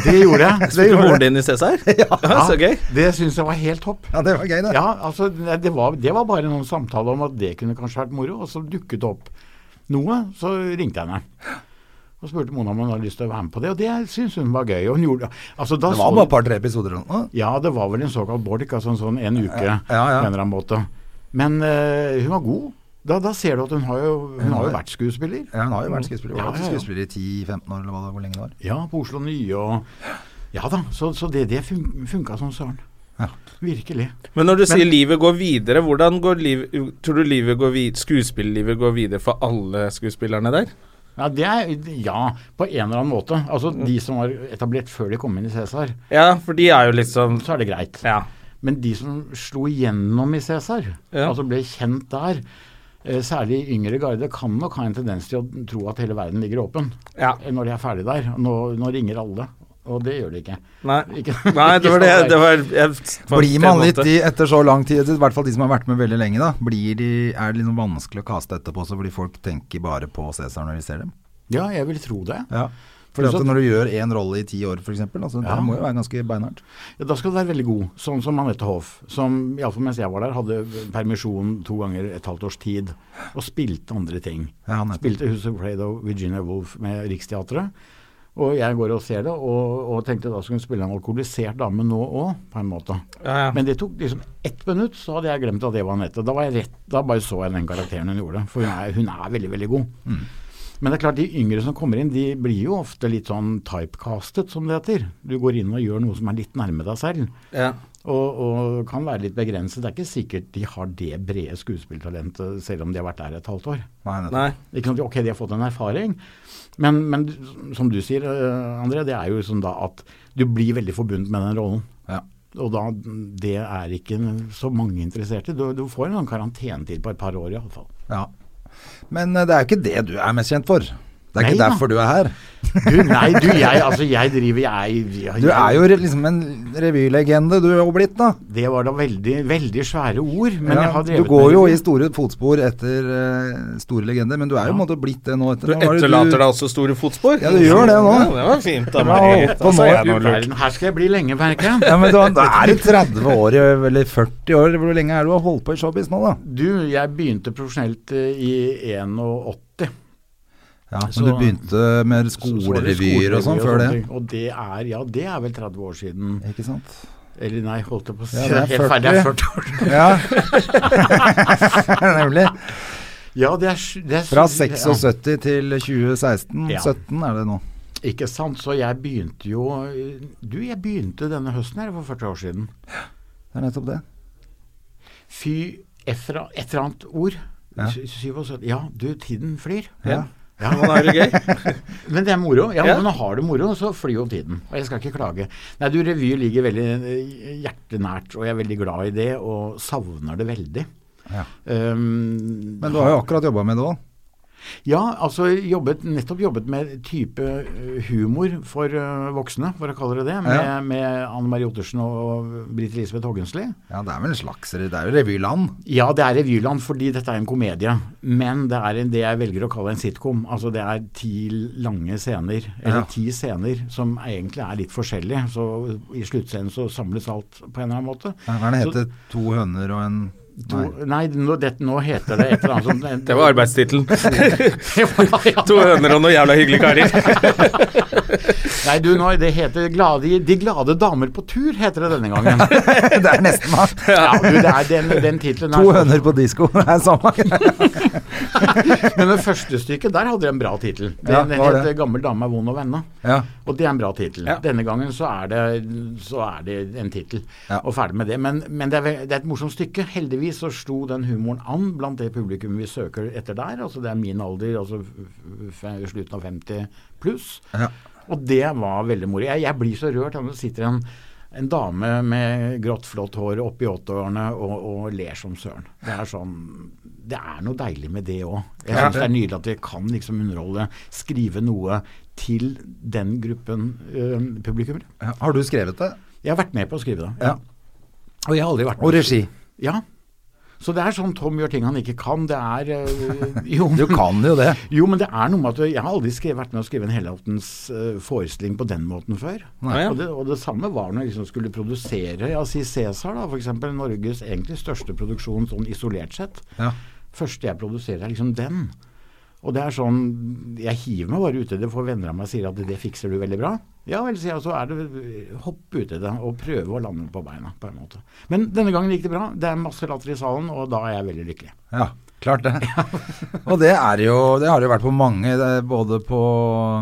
Speaker 3: det gjorde jeg.
Speaker 1: Spilte moren din i Cæsar? ja, så gøy.
Speaker 3: Det syns jeg var helt topp.
Speaker 2: Ja, det var gøy, det.
Speaker 3: Ja, altså, det det var, det var bare noen samtaler om at det kunne kanskje vært moro, og så dukket det opp noe, så ringte jeg henne. Og spurte Mona om hun hadde lyst til å være med på det, og det syns hun var gøy. Og hun gjorde, altså, da
Speaker 2: Det
Speaker 3: så-
Speaker 2: var bare et par-tre episoder. og- Å,
Speaker 3: ja, det var vel en såkalt bolk, altså en sånn en uke
Speaker 2: Ja, ja, ja.
Speaker 3: på en eller annen måte. Men eh, hun var god. Da, da ser du at hun har jo, hun har jo vært skuespiller.
Speaker 2: Ja, hun har jo vært skuespiller. Hun
Speaker 3: Mm. Ja,
Speaker 2: har vært
Speaker 3: ja, ja.
Speaker 2: skuespiller i 10-15 år, eller hva det- hvor lenge det var.
Speaker 3: Ja, på Oslo Nye og Ja da, så, så det, det fun funka som søren.
Speaker 2: Ja.
Speaker 3: Virkelig.
Speaker 1: Men når du
Speaker 3: Men-
Speaker 1: sier livet går videre, hvordan går liv, tror du livet går vid, skuespillerlivet går videre for alle skuespillerne der?
Speaker 3: Ja, det er, ja, på en eller annen måte. Altså de som var etablert før de kom inn i Cæsar,
Speaker 1: Ja, for de er jo liksom
Speaker 3: så er det greit.
Speaker 1: Ja.
Speaker 3: Men de som slo igjennom i Cæsar,
Speaker 1: Ja.
Speaker 3: altså ble kjent der, eh, særlig yngre garde, kan nok ha en tendens til å tro at hele verden ligger åpen
Speaker 1: Ja.
Speaker 3: eh, når de er ferdig der. Nå, nå ringer alle, og det gjør de ikke.
Speaker 1: Nei.
Speaker 3: Ikke-
Speaker 1: Nei, det var det,
Speaker 3: ikke sånn
Speaker 1: det var jeg,
Speaker 2: Blir man litt de etter så lang tid, i hvert fall de som har vært med veldig lenge, da, blir de, er det liksom vanskelig å kaste etterpå så fordi folk tenker bare på Cæsar når de ser dem?
Speaker 3: Ja, jeg vil tro det.
Speaker 2: Ja. Fordi
Speaker 3: Så-
Speaker 2: at når du gjør én rolle i ti år, f.eks., altså,
Speaker 3: Ja.
Speaker 2: det må jo være ganske beinhardt.
Speaker 3: Ja, da skal du være veldig god, sånn som Anette Hoff, som iallfall mens jeg var der, hadde permisjon to ganger et halvt års tid, og spilte andre ting.
Speaker 2: Ja, nettopp.
Speaker 3: spilte Who's Afraid of Virginia Woolf med Riksteatret. Og jeg går og ser det, og, og tenkte da skulle hun spille en alkoholisert dame nå òg, på en måte.
Speaker 1: ja, ja.
Speaker 3: Men det tok liksom ett minutt, så hadde jeg glemt at det var Anette. Da, var jeg rett, da bare så jeg den karakteren hun gjorde, for hun er, hun er veldig, veldig god.
Speaker 1: Mm.
Speaker 3: Men det er klart, de yngre som kommer inn, de blir jo ofte litt sånn typecastet, som det heter. Du går inn og gjør noe som er litt nærme deg selv,
Speaker 1: ja.
Speaker 3: og, og kan være litt begrenset. Det er ikke sikkert de har det brede skuespilltalentet, selv om de har vært der et halvt år.
Speaker 2: Nei, nettopp.
Speaker 1: Nei.
Speaker 3: Ikke sant? Ok, de har fått en erfaring, men, men du- som du sier, eh, André, det er jo sånn da at du blir veldig forbundet med den rollen.
Speaker 2: Ja.
Speaker 3: Og da, det er ikke så mange interesserte. Du, du får en sånn karantenetid på et par år iallfall.
Speaker 2: Ja. Men eh, det er jo ikke det du er mest kjent for. Det er
Speaker 3: Nei
Speaker 2: ikke
Speaker 3: da.
Speaker 2: derfor du er her.
Speaker 3: Du, nei, du, jeg, altså, jeg driver jeg, jeg,
Speaker 2: Du er jo re- liksom en revylegende du er jo blitt, da.
Speaker 3: Det var da veldig, veldig svære ord, men
Speaker 2: Ja,
Speaker 3: jeg har
Speaker 2: du
Speaker 3: drevet
Speaker 2: går
Speaker 3: med
Speaker 2: jo
Speaker 3: det.
Speaker 2: i store fotspor etter eh, store legender, men du er jo på en måte blitt det nå. Etter,
Speaker 1: Du
Speaker 2: Hva var det
Speaker 1: etterlater deg også store fotspor.
Speaker 2: Ja, du gjør det nå.
Speaker 1: Ja, det var fint av meg.
Speaker 2: Ja,
Speaker 1: Da
Speaker 2: og
Speaker 1: sa
Speaker 2: nå-
Speaker 1: jeg
Speaker 3: Du
Speaker 1: noe lurt.
Speaker 3: verden, her skal jeg bli lenge, merker jeg.
Speaker 2: Ja, men du, da er du 30 år, i- eller 40 år, hvor lenge er du har holdt på i showbiz nå, da?
Speaker 3: Du, jeg begynte profesjonelt eh, i 81.
Speaker 2: Ja, men
Speaker 3: Så-
Speaker 2: du begynte med
Speaker 3: Så- så var det
Speaker 2: skolerevyer og sånn
Speaker 3: skolerevyer
Speaker 2: før det?
Speaker 3: sånne ting. Og det er, ja, det er vel 30 år siden.
Speaker 2: Ikke sant?
Speaker 3: Eller nei, holdt jeg på å si.
Speaker 2: Ja,
Speaker 3: Ja,
Speaker 2: det er
Speaker 3: det er 40. Det er 40 år.
Speaker 2: Ja. Nemlig.
Speaker 3: Ja, det er, sj- det er
Speaker 2: Fra
Speaker 3: sj-
Speaker 2: 76 til 2016,
Speaker 3: Ja.
Speaker 2: 17 er det nå.
Speaker 3: Ja, ikke sant. Så jeg begynte jo Du, jeg begynte denne høsten her for 40 år siden.
Speaker 2: Det er nettopp det.
Speaker 3: Fy efra, et eller annet ord.
Speaker 2: Ja.
Speaker 3: Ja. 77. Ja, du, tiden flyr.
Speaker 2: Ja.
Speaker 3: Ja,
Speaker 1: Nå er det gøy.
Speaker 3: Men det er moro. Ja,
Speaker 1: Ja.
Speaker 3: Men har du moro, så flyr jo tiden. Og jeg skal ikke klage. Nei, du, revy ligger veldig eh, hjertenært, og jeg er veldig glad i det, og savner det veldig.
Speaker 2: Ja.
Speaker 3: Um,
Speaker 2: Men du har jo akkurat jobba med det òg.
Speaker 3: Ja, altså jobbet, nettopp jobbet med type eh, humor for eh, voksne, for å kalle det det, med,
Speaker 2: Ja.
Speaker 3: med Anne Marie Ottersen og, og Britt Elisabeth Hoggensli.
Speaker 2: Ja, det er vel en slags Det er jo revyland.
Speaker 3: Ja, det er revyland fordi dette er en komedie, men det er en, det jeg velger å kalle en sitcom. Altså det er ti lange scener, eller
Speaker 2: Ja.
Speaker 3: ti scener, som egentlig er litt forskjellige. Så i sluttscenen så samles alt på en eller annen måte.
Speaker 2: Ja, Hva er det
Speaker 3: Så-
Speaker 2: heter To høner og en
Speaker 3: To,
Speaker 2: Nei.
Speaker 3: nei, nå, det, nå heter det et eller annet som
Speaker 1: Det var arbeidstittelen.
Speaker 3: arbeid.
Speaker 1: To høner og noen jævla hyggelige karer.
Speaker 3: Nei, du, nå, det heter glade, De glade damer på tur, heter det denne gangen.
Speaker 2: det er nesten hva?
Speaker 3: Ja, du, det er den, den titlen
Speaker 2: To høner på disko. Det er samme.
Speaker 3: Men det første stykket, der hadde de en bra tittel. Den
Speaker 2: Ja, hva var
Speaker 3: het
Speaker 2: det?
Speaker 3: 'Gammel dame er vond å vende'.
Speaker 2: Ja.
Speaker 3: Og det er en bra tittel.
Speaker 1: Ja.
Speaker 3: Denne gangen så er det, så er det en tittel,
Speaker 2: Ja.
Speaker 3: og ferdig med det. Men, men det, er, ve- det er et morsomt stykke. Heldigvis så slo den humoren an blant det publikum vi søker etter der. Altså det er min alder, altså f- f- slutten av 50 pluss.
Speaker 2: Ja.
Speaker 3: Og det var veldig moro. Jeg, jeg blir så rørt. Det sitter en en dame med grått, flott hår oppi åtteårene og, og ler som søren. Det er sånn Det er noe deilig med det òg. Jeg
Speaker 1: Ja.
Speaker 3: syns det er nydelig at vi kan liksom underholde, skrive noe til den gruppen eh, publikummere.
Speaker 2: Ja, Har du skrevet det?
Speaker 3: Jeg har vært med på å skrive det.
Speaker 2: Ja.
Speaker 3: Og jeg har aldri vært med.
Speaker 2: Og regi.
Speaker 3: Ja. Så det er sånn Tom gjør ting han ikke kan. Det er eh, jo,
Speaker 2: Du kan jo det.
Speaker 3: jo, men det er noe med at jeg har aldri skrevet, vært med å skrive en helaftens eh, forestilling på den måten før.
Speaker 1: Nei, ja.
Speaker 3: Og, det, og det samme var når jeg liksom skulle produsere ja, si Cæsar, da, f.eks. Norges egentlig største produksjon sånn isolert sett.
Speaker 2: Ja.
Speaker 3: Første jeg produserer, er liksom den. Og det er sånn Jeg hiver meg bare uti det, for venner av meg sier at det fikser du veldig bra. Ja vel, sier jeg, så er det hopp uti det og prøve å lande på beina, på en måte. Men denne gangen gikk det bra. Det er masse latter i salen, og da er jeg veldig lykkelig.
Speaker 2: Ja, klart det. og det er jo Det har det jo vært på mange, det er både på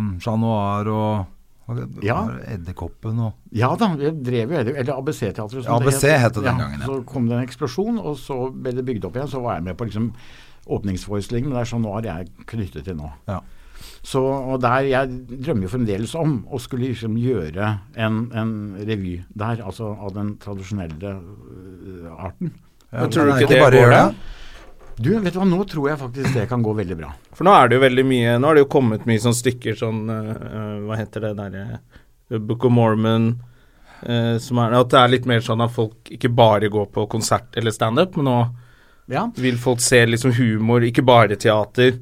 Speaker 2: um, Chat Noir og, og det-
Speaker 3: Ja.
Speaker 2: Edderkoppen og
Speaker 3: Ja da, vi drev jo Eller ABC-teatret. som
Speaker 2: ABC het det den gangen, ja.
Speaker 3: Så kom det en eksplosjon, og så ble det bygd opp igjen. Så var jeg med på liksom åpningsforestillingen, men det er sånn nå er jeg knyttet til nå.
Speaker 2: Ja.
Speaker 3: Så, og der, Jeg drømmer jo fremdeles om å skulle liksom gjøre en, en revy der, altså av den tradisjonelle øh, arten.
Speaker 1: Men tror du
Speaker 2: Nei,
Speaker 1: ikke det
Speaker 2: bare
Speaker 1: går,
Speaker 2: gjør
Speaker 1: da?
Speaker 3: Du, vet du hva, nå tror jeg faktisk det kan gå veldig bra.
Speaker 1: For nå er det jo veldig mye Nå har det jo kommet mye sånn stykker sånn eh, Hva heter det derre The Book of Mormon eh, som er, At det er litt mer sånn at folk ikke bare går på konsert eller standup, men nå
Speaker 3: Ja.
Speaker 1: vil folk se liksom humor, ikke bare teater,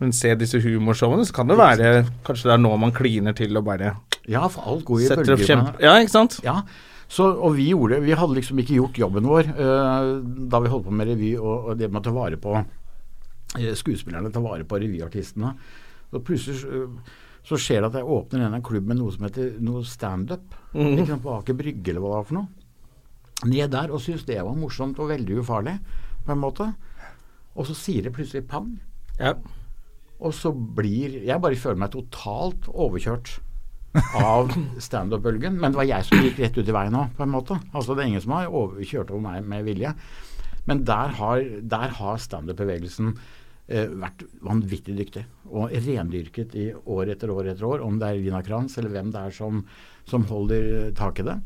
Speaker 1: men se disse humorshowene, så kan det være Kanskje det er nå man kliner til og bare
Speaker 3: Ja, for alt går i
Speaker 1: setter opp
Speaker 3: bølger.
Speaker 1: kjempe... Ja, ikke sant?
Speaker 3: Ja, så, og vi gjorde Vi hadde liksom ikke gjort jobben vår eh, da vi holdt på med revy og, og det med å ta vare på eh, skuespillerne, ta vare på revyartistene. Så plutselig så- eh, så skjer det at jeg åpner en eller annen klubb med noe som heter noe standup. Ikke sant, På Aker Brygge eller hva det var for noe. Ned der og syntes det var morsomt og veldig ufarlig, på en måte. Og så sier det plutselig pang.
Speaker 1: Ja.
Speaker 3: Og så blir Jeg bare føler meg totalt overkjørt av standup-bølgen. Men det var jeg som gikk rett ut i veien òg, på en måte. Altså Det er ingen som har over, kjørt over meg med vilje. Men der har, der har standup-bevegelsen eh, vært vanvittig dyktig. Og rendyrket i år etter år etter år, om det er Lina Kranz eller hvem det er som, som holder eh, tak i det.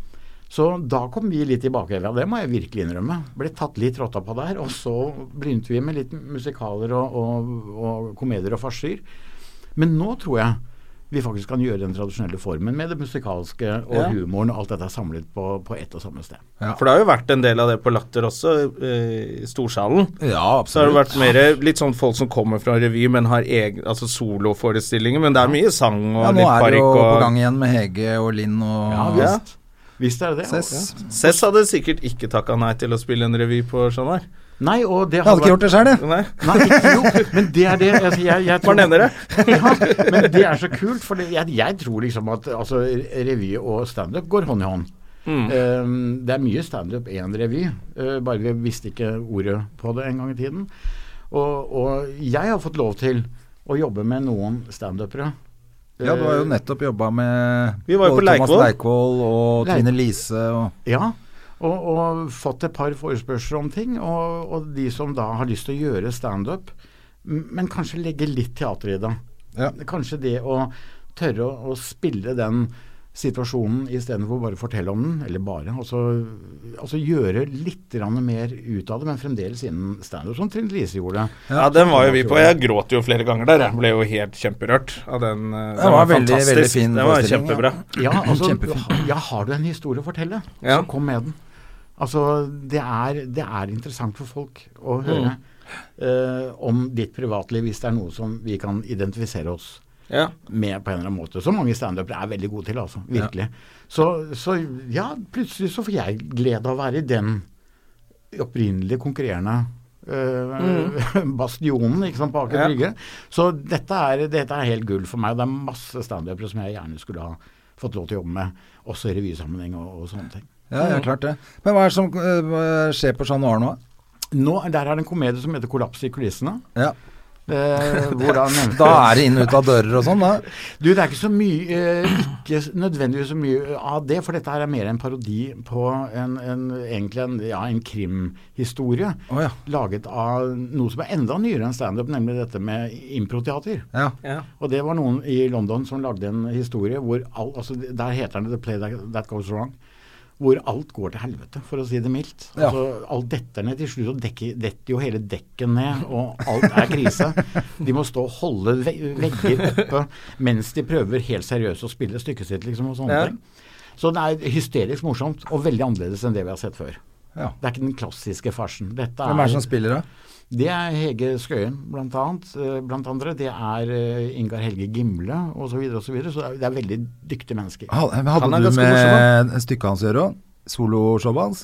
Speaker 3: Så da kom vi litt i bakhevet, det må jeg virkelig innrømme. Ble tatt litt rotta på der. Og så begynte vi med litt musikaler og, og, og komedier og farser. Men nå tror jeg vi faktisk kan gjøre den tradisjonelle formen med det musikalske og
Speaker 1: Ja.
Speaker 3: humoren og alt dette er samlet på, på ett og samme sted.
Speaker 2: Ja.
Speaker 1: For det har jo vært en del av det på Latter også, eh, i storsalen.
Speaker 2: Ja,
Speaker 1: Så har det vært
Speaker 2: absolutt.
Speaker 1: mer litt sånn folk som kommer fra revy, men har egen, altså soloforestillinger. Men det er mye sang og
Speaker 2: Ja, nå
Speaker 1: litt
Speaker 2: er det
Speaker 1: parykk
Speaker 2: jo
Speaker 1: og
Speaker 2: på gang igjen med Hege og Linn og
Speaker 3: Ja
Speaker 1: Ja.
Speaker 3: visst. Visst er det det.
Speaker 2: Cess.
Speaker 1: Cess hadde sikkert ikke takka nei til å spille en revy på Chat Noir.
Speaker 3: Nei, og det
Speaker 2: Jeg hadde ikke gjort det sjøl, jeg.
Speaker 1: Nei.
Speaker 3: Nei, ikke jo, men det er det altså, jeg, jeg tror-
Speaker 1: Bare nevner det.
Speaker 3: ja, men det er så kult, for det, jeg, jeg tror liksom at altså, revy og standup går hånd i hånd.
Speaker 1: Mm.
Speaker 3: Eh, det er mye standup i en revy, eh, bare vi visste ikke ordet på det en gang i tiden. Og, og jeg har fått lov til å jobbe med noen standupere. Eh,
Speaker 2: Ja, du har jo nettopp jobba med
Speaker 1: Vi var jo
Speaker 2: både
Speaker 1: på
Speaker 2: Thomas
Speaker 1: Leikvoll.
Speaker 2: Leikvoll og
Speaker 3: Leik-
Speaker 2: Trine Lise og
Speaker 3: Ja, og, og fått et par forespørsler om ting. Og, og de som da har lyst til å gjøre standup, m- men kanskje legge litt teater i det.
Speaker 2: Ja.
Speaker 3: Kanskje det å tørre å, å spille den situasjonen istedenfor bare å fortelle om den, eller bare. Altså, altså gjøre litt grann mer ut av det, men fremdeles innen standup, som Trine Lise gjorde.
Speaker 1: Ja, den var jo vi på. Jeg gråt jo flere ganger der. Jeg ble jo helt kjemperørt av den. eh, Den
Speaker 2: var veldig, veldig fin
Speaker 1: Den var
Speaker 2: forestilling,
Speaker 1: kjempebra.
Speaker 3: Ja, altså,
Speaker 2: Kjempefint.
Speaker 3: ja, har du en historie å fortelle,
Speaker 1: Ja.
Speaker 3: så kom med den. Altså, det er, det er interessant for folk å høre eh, om ditt privatliv, hvis det er noe som vi kan identifisere oss
Speaker 1: Ja.
Speaker 3: med på en eller annen måte. Som mange standupere er veldig gode til, altså. Virkelig. Så, så ja, plutselig så får jeg glede av å være i den opprinnelige konkurrerende eh,
Speaker 2: Mm.
Speaker 3: bastionen ikke sant, på Aker
Speaker 1: Ja.
Speaker 3: Brygge. Så dette er, dette er helt gull for meg. Det er masse standupere som jeg gjerne skulle ha fått lov til å jobbe med, også i revysammenheng og, og sånne ting.
Speaker 2: Ja, ja, klart det. Men hva er det som eh, hva skjer på Chat Noir nå?
Speaker 3: Nå, Der er det en komedie som heter 'Kollaps i kulissene'.
Speaker 2: Ja.
Speaker 3: Eh, hvor da nevnte-
Speaker 2: Da er det inn og ut av dører og sånn, da.
Speaker 3: Du, det er ikke så mye eh, Ikke nødvendigvis så mye eh, av det, for dette her er mer en parodi på en, en, egentlig en, ja, en krimhistorie.
Speaker 2: Å ja.
Speaker 3: Laget av noe som er enda nyere enn standup, nemlig dette med improteater.
Speaker 2: Ja.
Speaker 1: Ja.
Speaker 3: Og det var noen i London som lagde en historie hvor all, altså, Der heter den The Play That, That Goes Wrong. hvor alt går til helvete, for å si det mildt.
Speaker 2: Ja.
Speaker 3: Altså, alt detter ned til slutt, og dekker, detter jo hele dekket ned, og alt er krise. De må stå og holde ve vegger oppe mens de prøver helt seriøst å spille stykket sitt, liksom, og sånne
Speaker 1: Ja.
Speaker 3: ting. Så det er hysterisk morsomt, og veldig annerledes enn det vi har sett før.
Speaker 2: Ja.
Speaker 3: Det er ikke den klassiske farsen. Dette
Speaker 2: Hvem er det som spiller, da?
Speaker 3: det er Hege Skøyen, blant, annet, eh, blant andre. Det er eh, Ingar Helge Gimle osv. Så, videre, og så, videre. så det er- det er veldig dyktige mennesker.
Speaker 2: Ha- eh,
Speaker 1: Han
Speaker 2: Hadde
Speaker 1: er
Speaker 2: du
Speaker 1: ganske morsom,
Speaker 2: med stykket hans å gjøre òg? Soloshowet hans?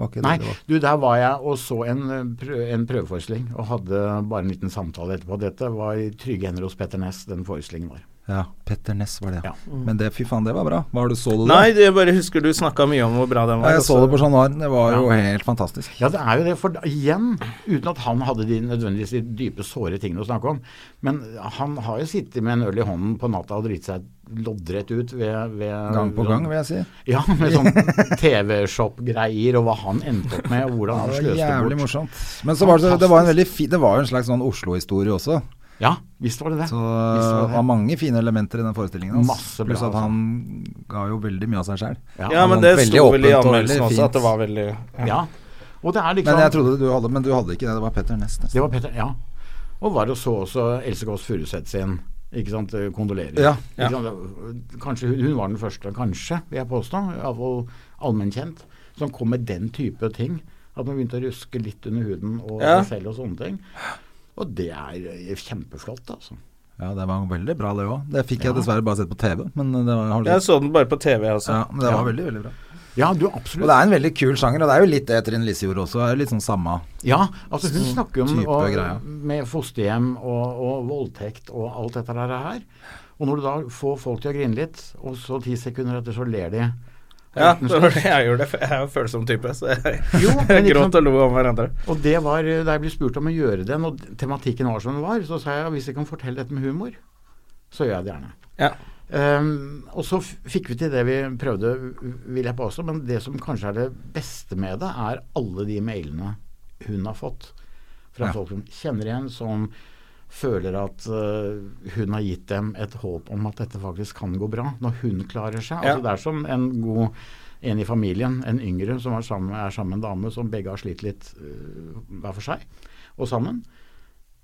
Speaker 2: Var ikke det
Speaker 3: Nei,
Speaker 2: det var?
Speaker 3: du, der var jeg og så en, eh, prø- en prøveforestilling og hadde bare en liten samtale etterpå. Dette var i Trygge hender hos Petter Næss, den forestillingen var.
Speaker 2: Ja, Petter Ness var det.
Speaker 3: Ja. Mm.
Speaker 2: Ja. Men det, fy faen, det var bra. Var du så du det?
Speaker 1: Nei, jeg bare husker du snakka mye om hvor bra den
Speaker 2: Ja,
Speaker 1: var. altså.
Speaker 2: jeg så
Speaker 1: også.
Speaker 2: det på Chat Noir. Det var jo helt fantastisk.
Speaker 3: Ja, det er jo det. For da- igjen, uten at han hadde de nødvendigvis de dype, såre tingene å snakke om, men han har jo sittet med en øl i hånden på natta og driti seg loddrett ut ved, ved
Speaker 2: Gang på gang, vil jeg si.
Speaker 3: Ja, med sånn TV-shop-greier og hva han endte opp med, og hvordan han
Speaker 2: Det var
Speaker 3: sløste
Speaker 2: jævlig
Speaker 3: bort.
Speaker 2: morsomt. Men så var det, det var en veldig fi, Det var jo en slags sånn Oslo-historie også.
Speaker 3: Ja, visst var det det.
Speaker 2: Så
Speaker 3: Visst var
Speaker 2: det
Speaker 3: det
Speaker 2: var
Speaker 3: det.
Speaker 2: mange fine elementer i den forestillingen hans.
Speaker 3: Masse bra,
Speaker 2: Pluss at
Speaker 3: altså.
Speaker 2: han ga jo veldig mye av seg sjøl.
Speaker 3: Ja.
Speaker 1: Ja, men
Speaker 2: Han
Speaker 1: det
Speaker 2: var veldig
Speaker 1: sto vel i
Speaker 2: åpent og
Speaker 1: anmeldelsen
Speaker 2: veldig
Speaker 1: også
Speaker 2: fint.
Speaker 1: at det var veldig
Speaker 3: Ja. Og det er liksom
Speaker 2: Men jeg trodde du hadde Men du hadde ikke det. Det var Petter Ness. nesten.
Speaker 3: Det var Petter, ja. Og var og så også Else Kåss Furuseth sin. Ikke sant, eh, kondolerer.
Speaker 2: Ja,
Speaker 1: ja.
Speaker 3: Ikke sant? eh, Kanskje hun, hun var den første, kanskje, vil jeg påstå, iallfall allmennkjent, som kom med den type ting. At man begynte å ruske litt under huden og
Speaker 1: Ja.
Speaker 3: seg selv og sånne ting. Og det er eh, kjempeflott, altså.
Speaker 2: Ja, det var veldig bra, det òg. Det fikk jeg dessverre bare sett på TV. Men det var, har du-
Speaker 1: Jeg så den bare på TV, altså.
Speaker 2: ja, men det var veldig, veldig bra.
Speaker 3: Ja, du,
Speaker 2: Og
Speaker 3: absolutt.
Speaker 2: det er en veldig kul sjanger, og det er jo litt det Trine Lise gjorde også. Det er jo litt sånn samme
Speaker 3: Ja, altså hun snakker jo om
Speaker 2: type
Speaker 3: og,
Speaker 2: greia.
Speaker 3: med fosterhjem og, og voldtekt og alt dette der her. Og når du da får folk til å grine litt, og så ti sekunder etter så ler de.
Speaker 1: Ja, det var det jeg gjorde. for Jeg er jo en følsom type, så jeg,
Speaker 3: Jo, men
Speaker 1: jeg
Speaker 3: ikke
Speaker 1: gråt
Speaker 3: sant.
Speaker 1: og lo om hverandre.
Speaker 3: Og det var eh, da jeg ble spurt om å gjøre den, og tematikken var som den var, så sa jeg hvis jeg kan fortelle dette med humor, så gjør jeg det gjerne.
Speaker 1: Ja.
Speaker 3: Ehm, og så f- fikk vi til det vi prøvde, vil jeg påstå, men det som kanskje er det beste med det, er alle de mailene hun har fått fra
Speaker 2: Ja.
Speaker 3: folk som kjenner igjen, som føler at eh, hun har gitt dem et håp om at dette faktisk kan gå bra, når hun klarer seg.
Speaker 1: Ja.
Speaker 3: Altså, det er som en god en i familien, en yngre som er sammen, er sammen med en dame som begge har slitt litt eh, hver for seg, og sammen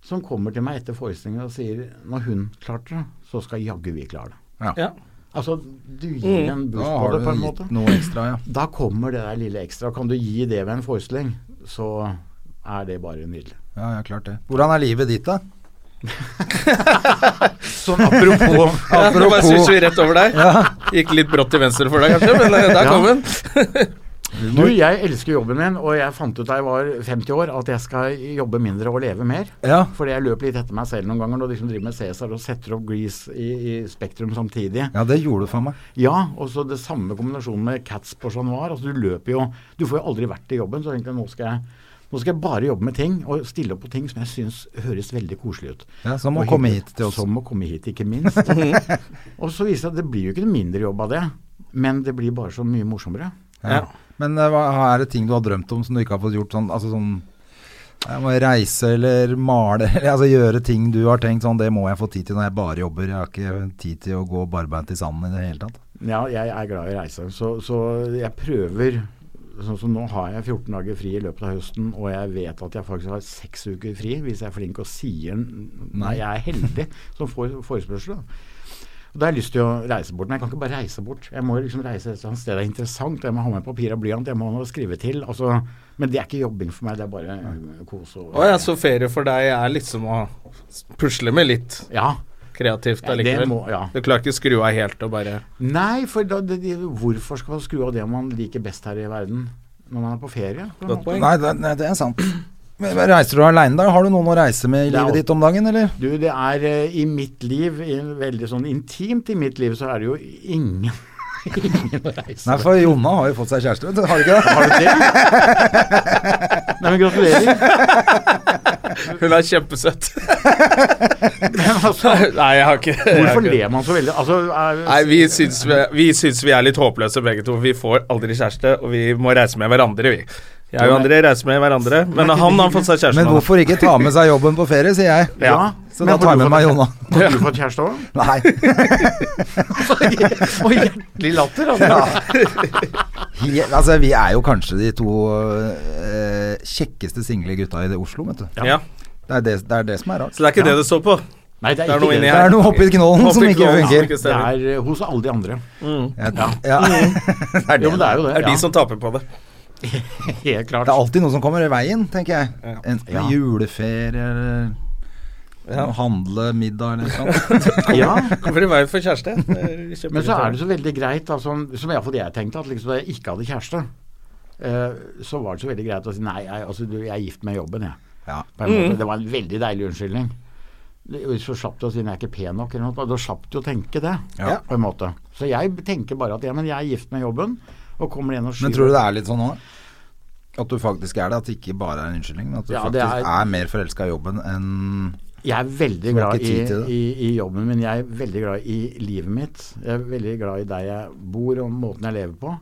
Speaker 3: som kommer til meg etter forestillingen og sier når hun klarte det, så skal jaggu vi klare det.
Speaker 1: Ja.
Speaker 3: Altså, du gir en
Speaker 2: Da
Speaker 3: boost på
Speaker 2: har
Speaker 3: det,
Speaker 2: du
Speaker 3: på en
Speaker 2: gitt
Speaker 3: måte.
Speaker 2: noe ekstra, ja.
Speaker 3: Da kommer det der lille ekstra. Kan du gi det ved en forestilling, så er det bare nydelig.
Speaker 2: Ja, ja, klart det. Hvordan er livet ditt, da?
Speaker 3: Sånn apropos
Speaker 1: Ja, nå bare switcher vi rett over deg. Gikk litt brått til venstre for deg, kanskje, men eh, der
Speaker 3: Ja.
Speaker 1: kom den.
Speaker 3: Du, jeg elsker jobben min, og jeg fant ut da jeg var 50 år at jeg skal jobbe mindre og leve mer.
Speaker 2: Ja.
Speaker 3: Fordi jeg løp litt etter meg selv noen ganger når de som driver med Cæsar og setter opp Grease i, i Spektrum samtidig.
Speaker 2: Ja, det gjorde du faen meg.
Speaker 3: Ja, og så det samme kombinasjonen med Cats på Chat Noir. Altså, du løper jo Du får jo aldri vært i jobben, så tenkte jeg nå skal jeg nå skal jeg bare jobbe med ting, og stille opp på ting som jeg syns høres veldig koselig ut.
Speaker 2: Ja, som å
Speaker 3: Og
Speaker 2: komme
Speaker 3: hyggelig.
Speaker 2: hit til oss.
Speaker 3: Som å komme hit, ikke minst. og så viser det seg at det blir jo ikke noe mindre jobb av det, men det blir bare så mye morsommere.
Speaker 2: Ja. Men eh, hva er det ting du har drømt om som du ikke har fått gjort sånn, altså sånn jeg må reise eller male eller altså gjøre ting du har tenkt sånn Det må jeg få tid til når jeg bare jobber. Jeg har ikke tid til å gå barbeint i sanden i det hele tatt.
Speaker 3: Ja, jeg er glad i å reise, så, så jeg prøver Sånn som nå har jeg 14 dager fri i løpet av høsten, og jeg vet at jeg faktisk har seks uker fri hvis jeg er flink og sier n- Nei, jeg er heldig som får forespørsel. Da. Og da har jeg lyst til å reise bort, men jeg kan ikke bare reise bort. Jeg må liksom reise et eller annet sted det er interessant, jeg må ha med papir og blyant, jeg må ha noe å skrive til. Altså, men det er ikke jobbing for meg, det er bare eh, kos og
Speaker 1: Å ja, så ferie for deg er liksom å pusle med litt
Speaker 3: Ja.
Speaker 1: kreativt
Speaker 3: Ja, det
Speaker 1: allikevel.
Speaker 3: må- ja.
Speaker 1: Du klarer ikke skru av helt og bare
Speaker 3: Nei, for da, det, det, hvorfor skal man skru av det man liker best her i verden når man er på ferie? på en måte?
Speaker 1: Godt poeng.
Speaker 2: Nei, det, nei, det er sant. Men Reiser du aleine da? Har du noen å reise med i
Speaker 3: Det er
Speaker 2: livet
Speaker 3: alt.
Speaker 2: ditt om dagen, eller?
Speaker 3: Du, det er eh, i mitt liv, i en veldig sånn intimt i mitt liv, så er det jo ingen Ingen å reise
Speaker 2: Nei,
Speaker 3: med.
Speaker 2: for Jonna har jo fått seg kjæreste, vet du. Har du ikke det?
Speaker 3: Har du det? Nei, men gratulerer.
Speaker 1: Hun er kjempesøtt.
Speaker 3: Men altså,
Speaker 1: Nei, jeg har ikke jeg har
Speaker 3: hvorfor
Speaker 1: ikke-
Speaker 3: ler man så veldig? Altså, er,
Speaker 1: Nei, vi syns vi, vi syns vi er litt håpløse begge to. Vi får aldri kjæreste, og vi må reise med hverandre, vi. Jeg og André reiser med hverandre, men
Speaker 3: ikke
Speaker 1: han
Speaker 3: det
Speaker 1: har fått seg kjæreste.
Speaker 2: Men
Speaker 1: nå.
Speaker 2: hvorfor ikke ta med seg jobben på ferie, sier jeg.
Speaker 1: Ja.
Speaker 2: Så da tar jeg med meg Jonna.
Speaker 3: Har du fått kjæreste òg?
Speaker 2: Nei.
Speaker 3: Og hjertelig latter. Altså.
Speaker 2: He- altså, vi er jo kanskje de to eh, kjekkeste single gutta i det Oslo, vet du.
Speaker 1: Ja.
Speaker 2: Det er det, det er det som er rart.
Speaker 1: Så det er ikke det det står på.
Speaker 3: Nei, det
Speaker 1: Det er
Speaker 3: er
Speaker 1: noe
Speaker 3: ikke
Speaker 1: inni
Speaker 3: det.
Speaker 2: Det er noe oppi knollen
Speaker 1: Oppi
Speaker 2: som ikke
Speaker 1: knollen,
Speaker 2: fungerer.
Speaker 1: ikke
Speaker 3: Det
Speaker 1: stemmer.
Speaker 3: er eh, hos alle de andre.
Speaker 2: Ja. Ja. det, er det.
Speaker 3: Jo, men det er jo det.
Speaker 1: Det er
Speaker 3: ja.
Speaker 1: de som taper på det.
Speaker 3: Helt klart.
Speaker 2: det er alltid noe som kommer i veien, tenker jeg.
Speaker 1: Ja.
Speaker 2: Enten
Speaker 3: Ja.
Speaker 2: juleferie eller
Speaker 1: Ja.
Speaker 2: å handle middag eller noe sånt.
Speaker 3: Ja.
Speaker 1: Hvorfor i veien for kjæreste? Det
Speaker 3: Men så
Speaker 2: sånn
Speaker 3: er det så veldig greit, da, som, som iallfall jeg tenkte, at liksom da jeg ikke hadde kjæreste, eh, så var det så veldig greit å si nei, jeg, altså, du, jeg er gift med jobben, jeg.
Speaker 2: Ja.
Speaker 3: På en
Speaker 2: Mm.
Speaker 3: måte. Det var en veldig deilig unnskyldning. Det- Så slapp du å si nei, jeg er ikke pen nok, eller noe. Da slapp du å tenke det,
Speaker 2: Ja.
Speaker 3: på en måte. Så jeg tenker bare at ja, men jeg er gift med jobben, og kommer inn og skyver
Speaker 2: Men tror du det er litt sånn nå? At du faktisk er det? At det ikke bare er en unnskyldning, men at du
Speaker 3: Ja, det
Speaker 2: faktisk er,
Speaker 3: er-
Speaker 2: mer forelska i jobben enn
Speaker 3: Jeg er veldig
Speaker 2: Så du har
Speaker 3: glad
Speaker 2: ikke
Speaker 3: i,
Speaker 2: tid til det?
Speaker 3: i, i jobben min. Jeg er veldig glad i livet mitt. Jeg er veldig glad i der jeg bor og måten jeg lever på.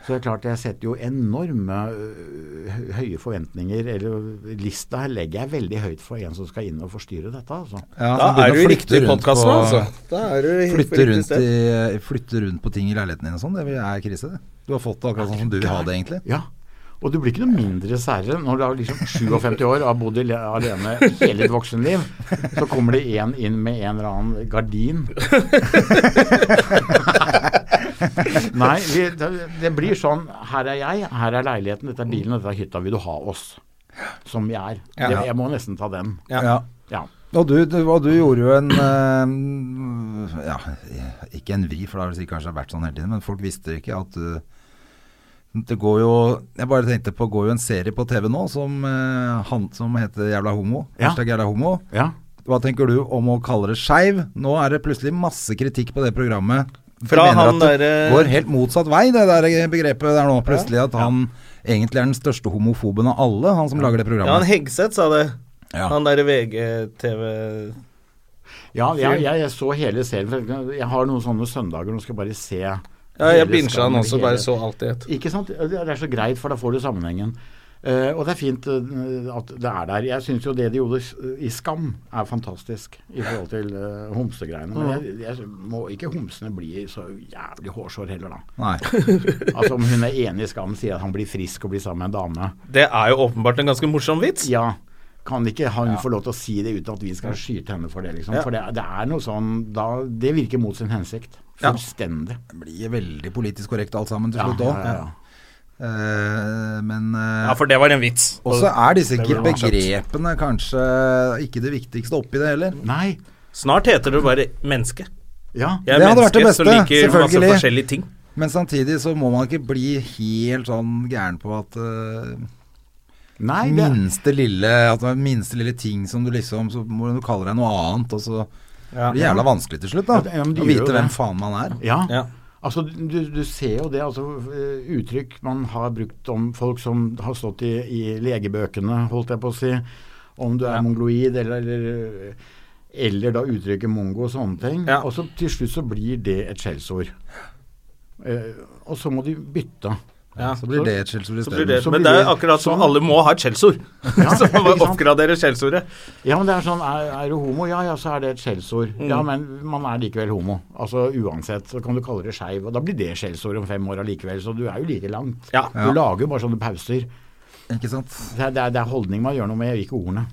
Speaker 3: Så det er klart jeg setter jo enorme øh, høye forventninger, eller lista her legger jeg veldig høyt for en som skal inn og forstyrre dette, altså.
Speaker 2: ja,
Speaker 1: Da
Speaker 2: som begynner
Speaker 1: er du
Speaker 2: å
Speaker 1: i
Speaker 2: flykte
Speaker 1: riktig
Speaker 2: rundt
Speaker 1: podkast nå,
Speaker 2: på-
Speaker 1: altså. Da er du helt på
Speaker 2: Flytte
Speaker 1: riktig
Speaker 2: rundt,
Speaker 1: sted.
Speaker 2: i, flytte rundt på ting i leiligheten din og sånn, det er krise, det. Du har fått det akkurat sånn som du vil ha det, egentlig.
Speaker 3: Ja. Og du blir ikke noe mindre særere når du er liksom 57 år og har bodd ale- alene hele ditt voksenliv. Så kommer det en inn med en eller annen gardin. Nei, vi, det, det blir sånn Her er jeg, her er leiligheten, dette er bilen, dette er hytta. Vil du ha oss? Som vi er. Det, jeg må nesten ta den.
Speaker 1: Ja.
Speaker 2: Ja.
Speaker 3: Ja.
Speaker 2: Og du, du, og du gjorde jo en eh, Ja, ikke en vri, for det har vel sikkert kanskje vært sånn hele tiden, men folk visste ikke at du det går jo Jeg bare tenkte på Det går jo en serie på TV nå som, eh, han, som heter Jævla homo.
Speaker 3: Ja.
Speaker 2: Hashtag jævla homo.
Speaker 3: ja.
Speaker 2: Hva tenker du om å kalle det skeiv? Nå er det plutselig masse kritikk på det programmet. De
Speaker 1: Fra
Speaker 2: mener
Speaker 1: han
Speaker 2: at det
Speaker 1: derre-
Speaker 2: går helt motsatt vei, det der begrepet der nå. Plutselig at han egentlig er den største homofoben av alle, han som lager det
Speaker 1: Ja, han
Speaker 2: programmet.
Speaker 1: Hegseth sa det.
Speaker 2: Ja.
Speaker 1: Han derre VGTV
Speaker 3: ja jeg, jeg, jeg så hele serien. for Jeg har noen sånne søndager, nå skal jeg bare se.
Speaker 1: Ja, jeg
Speaker 3: hele
Speaker 1: bincha han
Speaker 3: skammen,
Speaker 1: også, bare
Speaker 3: hele-
Speaker 1: så alt i ett.
Speaker 3: Ikke sant? Det er så greit, for da får du sammenhengen. Eh, og det er fint eh, at det er der. Jeg syns jo det de gjorde s- eh, i Skam er fantastisk i forhold til eh, homsegreiene. Men jeg, jeg må ikke homsene bli så jævlig hårsår heller, da.
Speaker 2: Nei.
Speaker 3: Altså om hun er enig i Skam, sier at han blir frisk og blir sammen med en dame.
Speaker 1: Det er jo åpenbart en ganske morsom vits.
Speaker 3: Ja, kan ikke han få lov til å si det uten at vi skal skyte henne for det, liksom? For det, det er noe sånn da, Det virker mot sin hensikt.
Speaker 1: Ja.
Speaker 3: Fullstendig.
Speaker 2: Det blir veldig politisk korrekt alt sammen til
Speaker 3: Ja,
Speaker 2: slutt
Speaker 3: ja,
Speaker 2: òg.
Speaker 3: ja, ja.
Speaker 2: men eh,
Speaker 1: Ja, for det var en vits.
Speaker 2: også er disse
Speaker 1: Det burde man skjønt.
Speaker 2: begrepene kanskje ikke det viktigste oppi det heller.
Speaker 3: Nei.
Speaker 1: Snart heter du bare menneske.
Speaker 3: Ja.
Speaker 1: Jeg er
Speaker 2: Det hadde vært
Speaker 1: menneske
Speaker 2: det beste,
Speaker 1: som liker masse
Speaker 2: selvfølgelig.
Speaker 1: forskjellige ting.
Speaker 2: Men samtidig så må man ikke bli helt sånn gæren på at eh,
Speaker 3: Nei, det,
Speaker 2: minste lille At det er minste lille ting som du liksom Så må du kalle deg noe annet, og så blir det jævla vanskelig til slutt,
Speaker 3: Ja,
Speaker 2: da.
Speaker 3: det- ja, men de
Speaker 2: å
Speaker 3: gjør
Speaker 2: vite
Speaker 3: jo
Speaker 2: hvem
Speaker 3: det.
Speaker 2: faen man er.
Speaker 3: Ja.
Speaker 1: Ja.
Speaker 3: Altså, du, du ser jo det. Altså, eh, uttrykk man har brukt om folk som har stått i, i legebøkene, holdt jeg på å si. Om du er mongoloid eller, eller Eller da uttrykket mongo og sånne ting.
Speaker 1: Ja.
Speaker 3: Og så til slutt så blir det et skjellsord. Eh, og så må de bytte.
Speaker 1: Ja.
Speaker 2: Så blir det et skjellsord i
Speaker 1: Så blir
Speaker 2: stedet.
Speaker 1: det,
Speaker 3: Så
Speaker 1: men
Speaker 3: blir
Speaker 1: det er
Speaker 3: det-
Speaker 1: akkurat som
Speaker 3: sånn.
Speaker 1: alle må ha et skjellsord.
Speaker 3: Ja,
Speaker 1: så man må
Speaker 3: ikke sant?
Speaker 1: oppgradere skjellsordet.
Speaker 3: Ja, men det er sånn Er, er du homo? Ja ja, så er det et skjellsord.
Speaker 1: Mm.
Speaker 3: Ja, men man er likevel homo. Altså uansett. Så kan du kalle det skeiv, og da blir det skjellsord om fem år allikevel. Så du er jo like langt.
Speaker 1: Ja.
Speaker 3: Du lager jo bare sånne pauser.
Speaker 2: Ikke sant.
Speaker 3: Det er, det, er, det er holdning man gjør noe med, ikke ordene.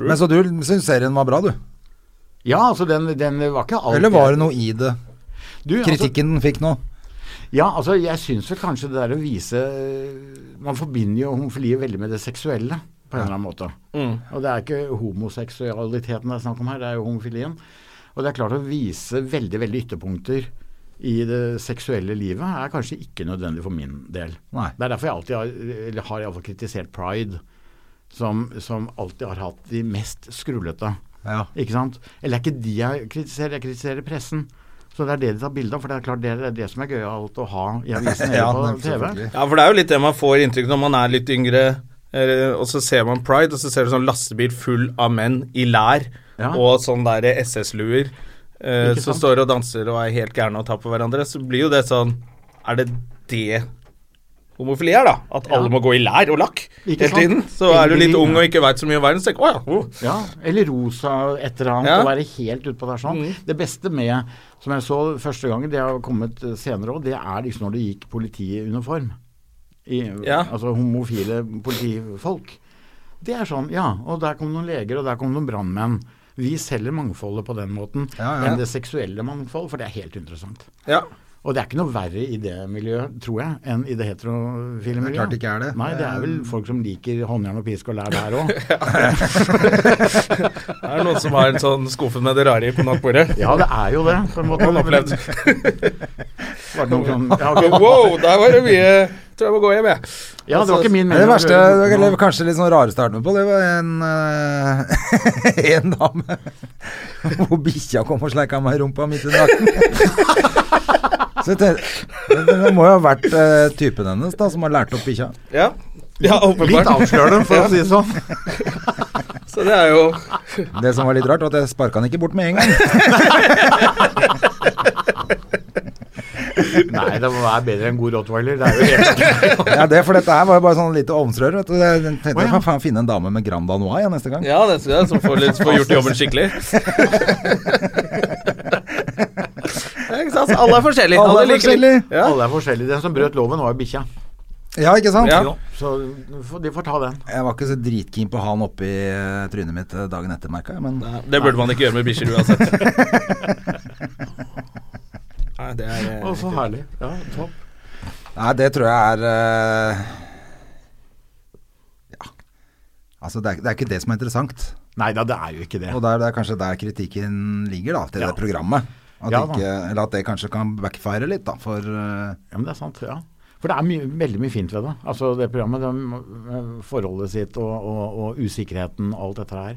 Speaker 2: Men så du syns serien var bra, du?
Speaker 3: Ja, altså, den, den var ikke alt
Speaker 2: Eller var det noe i det?
Speaker 3: du,
Speaker 2: Kritikken den fikk nå?
Speaker 3: Altså, ja, altså, jeg syns vel kanskje det der å vise øh, Man forbinder jo homofili veldig med det seksuelle, på en eller annen måte. Og det er ikke homoseksualiteten det er snakk om her, det er jo homofilien. Og det er klart å vise veldig, veldig ytterpunkter i det seksuelle livet er kanskje ikke nødvendig for min del.
Speaker 2: Nei.
Speaker 3: Det er derfor jeg alltid har, eller har i alle fall kritisert pride, som, som alltid har hatt de mest skrullete.
Speaker 2: Ja.
Speaker 3: Ikke sant? Eller det er ikke de jeg kritiserer, jeg kritiserer pressen. Så det er det de tar bilde av, for det er klart det er det som er gøyalt å ha i avisen eller
Speaker 2: Ja,
Speaker 3: på
Speaker 2: men
Speaker 3: TV.
Speaker 2: selvfølgelig.
Speaker 1: Ja, for det er jo litt det man får inntrykk når man er litt yngre, eh, og så ser man Pride, og så ser du sånn lastebil full av menn i lær
Speaker 3: Ja.
Speaker 1: og sånn der SS-luer eh,
Speaker 3: Ikke
Speaker 1: som
Speaker 3: sant?
Speaker 1: står og danser og er helt gærne og tar på hverandre, så blir jo det sånn Er det det homofili er, da. At alle må gå i lær og lakk
Speaker 3: Ikke
Speaker 1: hele
Speaker 3: sant?
Speaker 1: tiden. Så er du litt
Speaker 3: Endelig,
Speaker 1: ung
Speaker 3: ja.
Speaker 1: og ikke veit så mye om verden, så tenker du å ja. Oh.
Speaker 3: Ja, eller rosa et eller annet,
Speaker 1: Ja.
Speaker 3: og være helt utpå der sånn.
Speaker 2: Mm.
Speaker 3: Det beste med, som jeg så første gangen, det har kommet eh, senere òg, det er liksom når det gikk politiuniform. I,
Speaker 1: Ja.
Speaker 3: Altså homofile politifolk. Det er sånn, ja. Og der kom noen leger, og der kom noen brannmenn. Vi selger mangfoldet på den måten
Speaker 2: Ja, ja.
Speaker 3: enn det seksuelle mangfold, for det er helt interessant.
Speaker 1: Ja.
Speaker 3: Og det er ikke noe verre i det miljøet, tror jeg, enn i det heterofile miljøet.
Speaker 2: Det er klart det ikke er det. Um.
Speaker 3: Nei, det er vel folk som liker håndjern og pisk og lær der òg.
Speaker 1: Det er noen som har en sånn skuffe med det rare på nattbordet.
Speaker 3: Ja, det er jo det, på en måte.
Speaker 1: Han har opplevd.
Speaker 3: Var det noe sånn, ja, ok.
Speaker 1: Wow, der var det mye Tror jeg må gå hjem, jeg.
Speaker 3: ja, det var ikke min
Speaker 2: Det, er det
Speaker 3: mening å
Speaker 2: verste,
Speaker 3: gjøre noe.
Speaker 2: eller kanskje litt sånn rareste jeg har vært med på, det var en, eh, en dame hvor bikkja kom og sleika meg i rumpa midt under natten. Så jeg tenkte, det, det må jo ha vært eh, typen hennes da, som har lært opp bikkja.
Speaker 1: Ja. Ja,
Speaker 3: Litt
Speaker 1: åpenbart.
Speaker 3: avslør dem, for å si det sånn.
Speaker 1: Så det er jo
Speaker 2: Det som var litt rart, var at jeg sparka han ikke bort med en gang.
Speaker 3: Nei, det må være bedre enn god rottweiler. Det er jo helt
Speaker 2: Ja, det, for dette her var jo bare sånn lite ovnsrør. Vet du. Jeg tenkte
Speaker 3: Å, ja.
Speaker 2: jeg faen finne en dame med Grand Danois ja, neste gang.
Speaker 1: Ja, det tror jeg, som får, litt, får gjort jobben skikkelig. Ja, ikke sant? Så Alle er forskjellige.
Speaker 2: Alle er
Speaker 1: liker litt.
Speaker 2: forskjellige.
Speaker 1: Ja.
Speaker 3: Alle er forskjellige. Den som brøt loven, var jo bikkja.
Speaker 2: Ja, ikke sant?
Speaker 1: Ja.
Speaker 3: Så får- de får ta den.
Speaker 2: Jeg var ikke så dritkeen på å ha han oppi eh, trynet mitt eh, dagen etter, merka jeg. Men
Speaker 1: Det burde man ikke gjøre med bikkjer uansett. Nei, det er eh,
Speaker 3: Å, så herlig. Ja, topp.
Speaker 2: nei, det tror jeg er eh, Ja. Altså, det er, det er ikke det som er interessant.
Speaker 3: Nei da, det er jo ikke det.
Speaker 2: Og det er, det er kanskje der kritikken ligger, da, til
Speaker 3: Ja.
Speaker 2: det programmet. At,
Speaker 3: Ja, da.
Speaker 2: ikke, eller at det kanskje kan backfire litt, da, for eh,
Speaker 3: Ja, men det er sant. Ja. For det er mye, veldig mye fint ved det. Altså det programmet, det, eh, forholdet sitt og, og, og usikkerheten og alt dette her.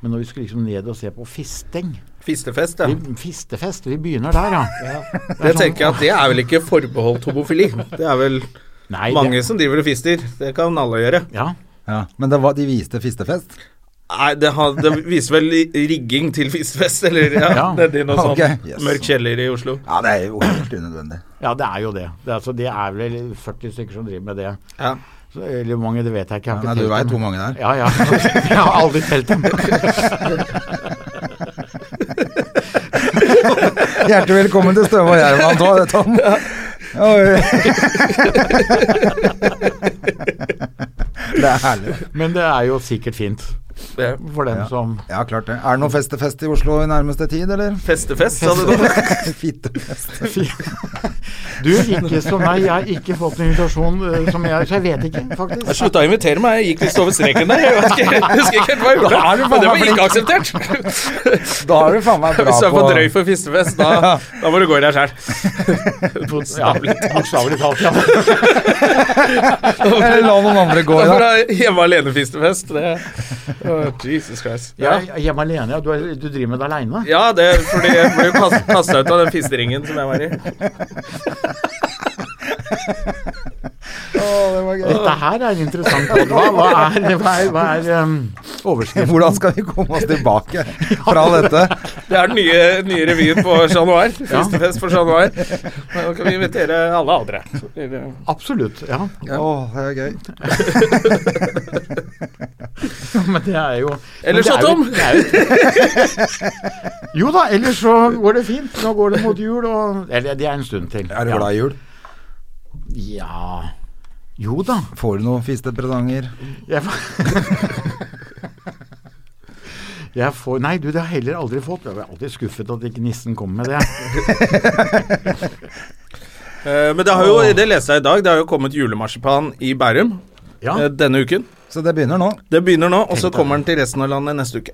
Speaker 3: Men når vi skulle liksom ned og se på fisting
Speaker 1: Fistefest, ja.
Speaker 3: vi, Fistefest, vi begynner der, ja. sånn-
Speaker 1: Det tenker jeg at det er vel ikke forbeholdt homofili. Det er vel
Speaker 3: Nei, det-
Speaker 1: mange som driver og fister. Det kan alle gjøre.
Speaker 3: Ja.
Speaker 2: ja. Men det var, de viste fistefest.
Speaker 1: Nei, det, har, det viser vel i- rigging til fistefest, eller ja,
Speaker 3: Ja.
Speaker 1: nedi noe sånt
Speaker 2: Ok, yes.
Speaker 1: mørk kjeller i Oslo.
Speaker 2: Ja, det er jo helt unødvendig.
Speaker 3: Ja, det er jo det. Det er, altså, det er vel 40 stykker som driver med det.
Speaker 1: Ja.
Speaker 3: Så, eller hvor mange, det vet jeg ikke. Jeg har
Speaker 2: Nei, du
Speaker 3: ikke telt
Speaker 2: veit
Speaker 3: dem.
Speaker 2: hvor mange det er.
Speaker 3: Ja, ja. Jeg har aldri telt dem.
Speaker 2: Hjertelig velkommen til Støme og Gjerman, Tom. Oi. Det er herlig.
Speaker 3: Men det er jo sikkert fint
Speaker 1: Det er
Speaker 3: for dem som
Speaker 2: Ja, klart det. Er det noe festefest i Oslo i nærmeste tid, eller?
Speaker 1: Festefest, sa du nå?
Speaker 2: Fittefest.
Speaker 3: Du, ikke som meg. Jeg har ikke fått en invitasjon eh, som jeg Så jeg vet ikke,
Speaker 1: Jeg
Speaker 3: faktisk.
Speaker 1: slutta å invitere meg, jeg gikk visst over streken der. Jeg vet ikke- jeg husker ikke helt hva jeg gjorde,
Speaker 2: Da er du faen
Speaker 1: men det var
Speaker 2: meg
Speaker 1: ikke akseptert.
Speaker 2: Da er du faen meg bra
Speaker 1: Hvis du er
Speaker 2: på
Speaker 1: for drøy for fistefest, da, da må du gå i deg sjæl.
Speaker 3: Ja, Bokstavelig talt, ja.
Speaker 2: Eller la noen andre gå i
Speaker 1: Da
Speaker 2: dag.
Speaker 1: får du ha hjemme alene-fistefest. Det Åh, Jesus Christ.
Speaker 3: Jeg er hjemme alene, ja. Du, er, du driver med det aleine?
Speaker 1: Ja, det er fordi jeg ble kasta ut av den fisteringen som jeg var i.
Speaker 3: Dette her er interessant. Hva, hva er, hva er, hva er um, em, overskriften?
Speaker 2: Hvordan skal vi komme oss tilbake fra dette?
Speaker 1: Det er den nye, nye revyen på Chat Noir. Fistefest for Chat Noir. Da kan vi invitere alle andre. Så blir det-
Speaker 3: Absolutt. Ja.
Speaker 2: Å, det er gøy.
Speaker 3: Men det er jo
Speaker 1: Eller
Speaker 3: men det er jo-
Speaker 1: Chatom.
Speaker 3: det er jo- Jo da, ellers så går det fint. Nå går det mot jul, og Eller det er en stund til.
Speaker 2: Er du glad i jul?
Speaker 3: Ja Jo da.
Speaker 2: Får du noen fistepresanger?
Speaker 3: Jeg får, jeg får Nei, du, det har jeg heller aldri fått. Jeg er alltid skuffet at ikke nissen kom med det.
Speaker 1: Eh, Men det har jo, det leste jeg i dag, det har jo kommet julemarsipan i Bærum
Speaker 3: Ja.
Speaker 1: eh, denne uken.
Speaker 2: Så det begynner nå.
Speaker 1: Det begynner nå, og så kommer den til resten av landet neste uke.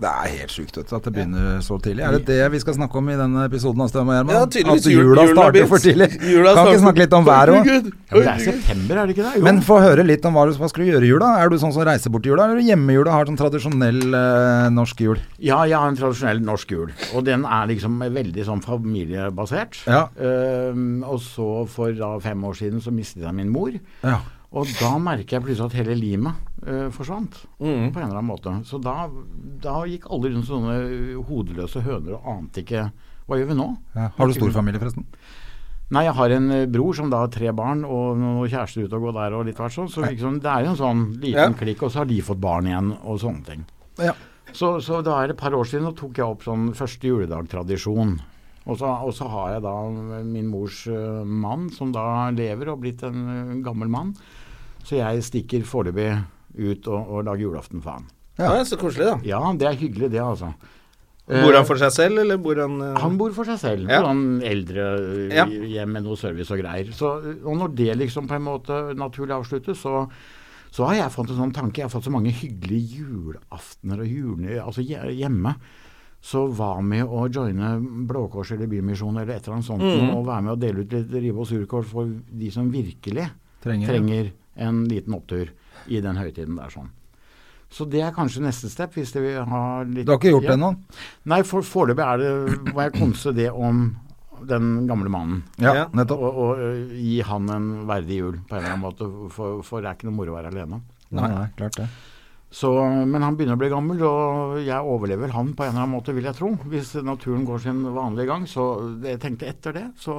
Speaker 2: Det er helt sjukt vet du, at det begynner så tidlig. Er det det vi skal snakke om i denne episoden av Støm og Gjerman?
Speaker 1: Ja, tydeligvis.
Speaker 2: At
Speaker 1: Jul-
Speaker 2: altså, jula
Speaker 1: julen har
Speaker 2: starter
Speaker 1: begynt.
Speaker 2: for tidlig.
Speaker 1: Jula
Speaker 2: kan
Speaker 1: starter-
Speaker 2: ikke snakke litt om været òg?
Speaker 1: Herregud,
Speaker 3: Ja, men det er
Speaker 1: herregud.
Speaker 3: september, er det ikke det? Jo.
Speaker 2: Men få høre litt om hva du hva skal du gjøre i jula. Er du sånn som reiser bort i jula, eller hjemme i jula har sånn tradisjonell eh, norsk jul?
Speaker 3: Ja, jeg har en tradisjonell norsk jul. Og den er liksom veldig sånn familiebasert.
Speaker 2: Ja.
Speaker 3: Ehm, og så for da fem år siden så mistet jeg min mor.
Speaker 2: Ja.
Speaker 3: Og da merker jeg plutselig at hele limet eh, forsvant på en eller annen måte. Så da, da gikk alle rundt som sånne hodeløse høner og ante ikke Hva gjør vi nå?
Speaker 2: Har du stor familie, forresten?
Speaker 3: Nei, jeg har en eh, bror som da har tre barn og noen kjærester ute og går der og litt hvert sånn. Så liksom, det er jo en sånn liten
Speaker 2: Ja.
Speaker 3: klikk, og så har de fått barn igjen og sånne ting.
Speaker 2: Ja.
Speaker 3: Så, så da er det et par år siden, og tok jeg opp sånn første juledagtradisjon. Og så, og så har jeg da min mors eh, mann, som da lever og blitt en eh, gammel mann. Så jeg stikker foreløpig ut og, og lager julaften for han.
Speaker 2: Ja. Eh,
Speaker 1: så koselig, da.
Speaker 3: Ja, det er hyggelig det, altså.
Speaker 1: Bor han for seg selv, eller bor han eh,
Speaker 3: Han bor for seg selv.
Speaker 1: Ja.
Speaker 3: Ja. Sånn eldrehjem
Speaker 1: Ja.
Speaker 3: med noe service og greier. Så, og når det liksom på en måte naturlig avsluttes, så, så har jeg fått en sånn tanke. Jeg har fått så mange hyggelige julaftener og jule, altså hje- hjemme. Så hva med å joine Blå Kors eller Bymisjonen eller et eller annet sånt,
Speaker 1: Mm.
Speaker 3: og være med å dele ut litt ribbe og surkål for de som virkelig
Speaker 2: Trenger.
Speaker 3: trenger en liten opptur i den høytiden der sånn. Så det er kanskje neste step, hvis de vil ha litt
Speaker 2: Du har ikke gjort det ennå?
Speaker 3: Nei, for foreløpig er det Må jeg konse det om den gamle mannen.
Speaker 2: Ja,
Speaker 1: Ja.
Speaker 2: nettopp.
Speaker 3: Og, og øh, gi han en verdig jul på en eller annen måte, for, for det er ikke noe moro å være alene.
Speaker 2: Nei, nei, klart det.
Speaker 3: Så, men han begynner å bli gammel, og jeg overlever han på en eller annen måte, vil jeg tro. Hvis naturen går sin vanlige gang. Så det- jeg tenkte etter det, så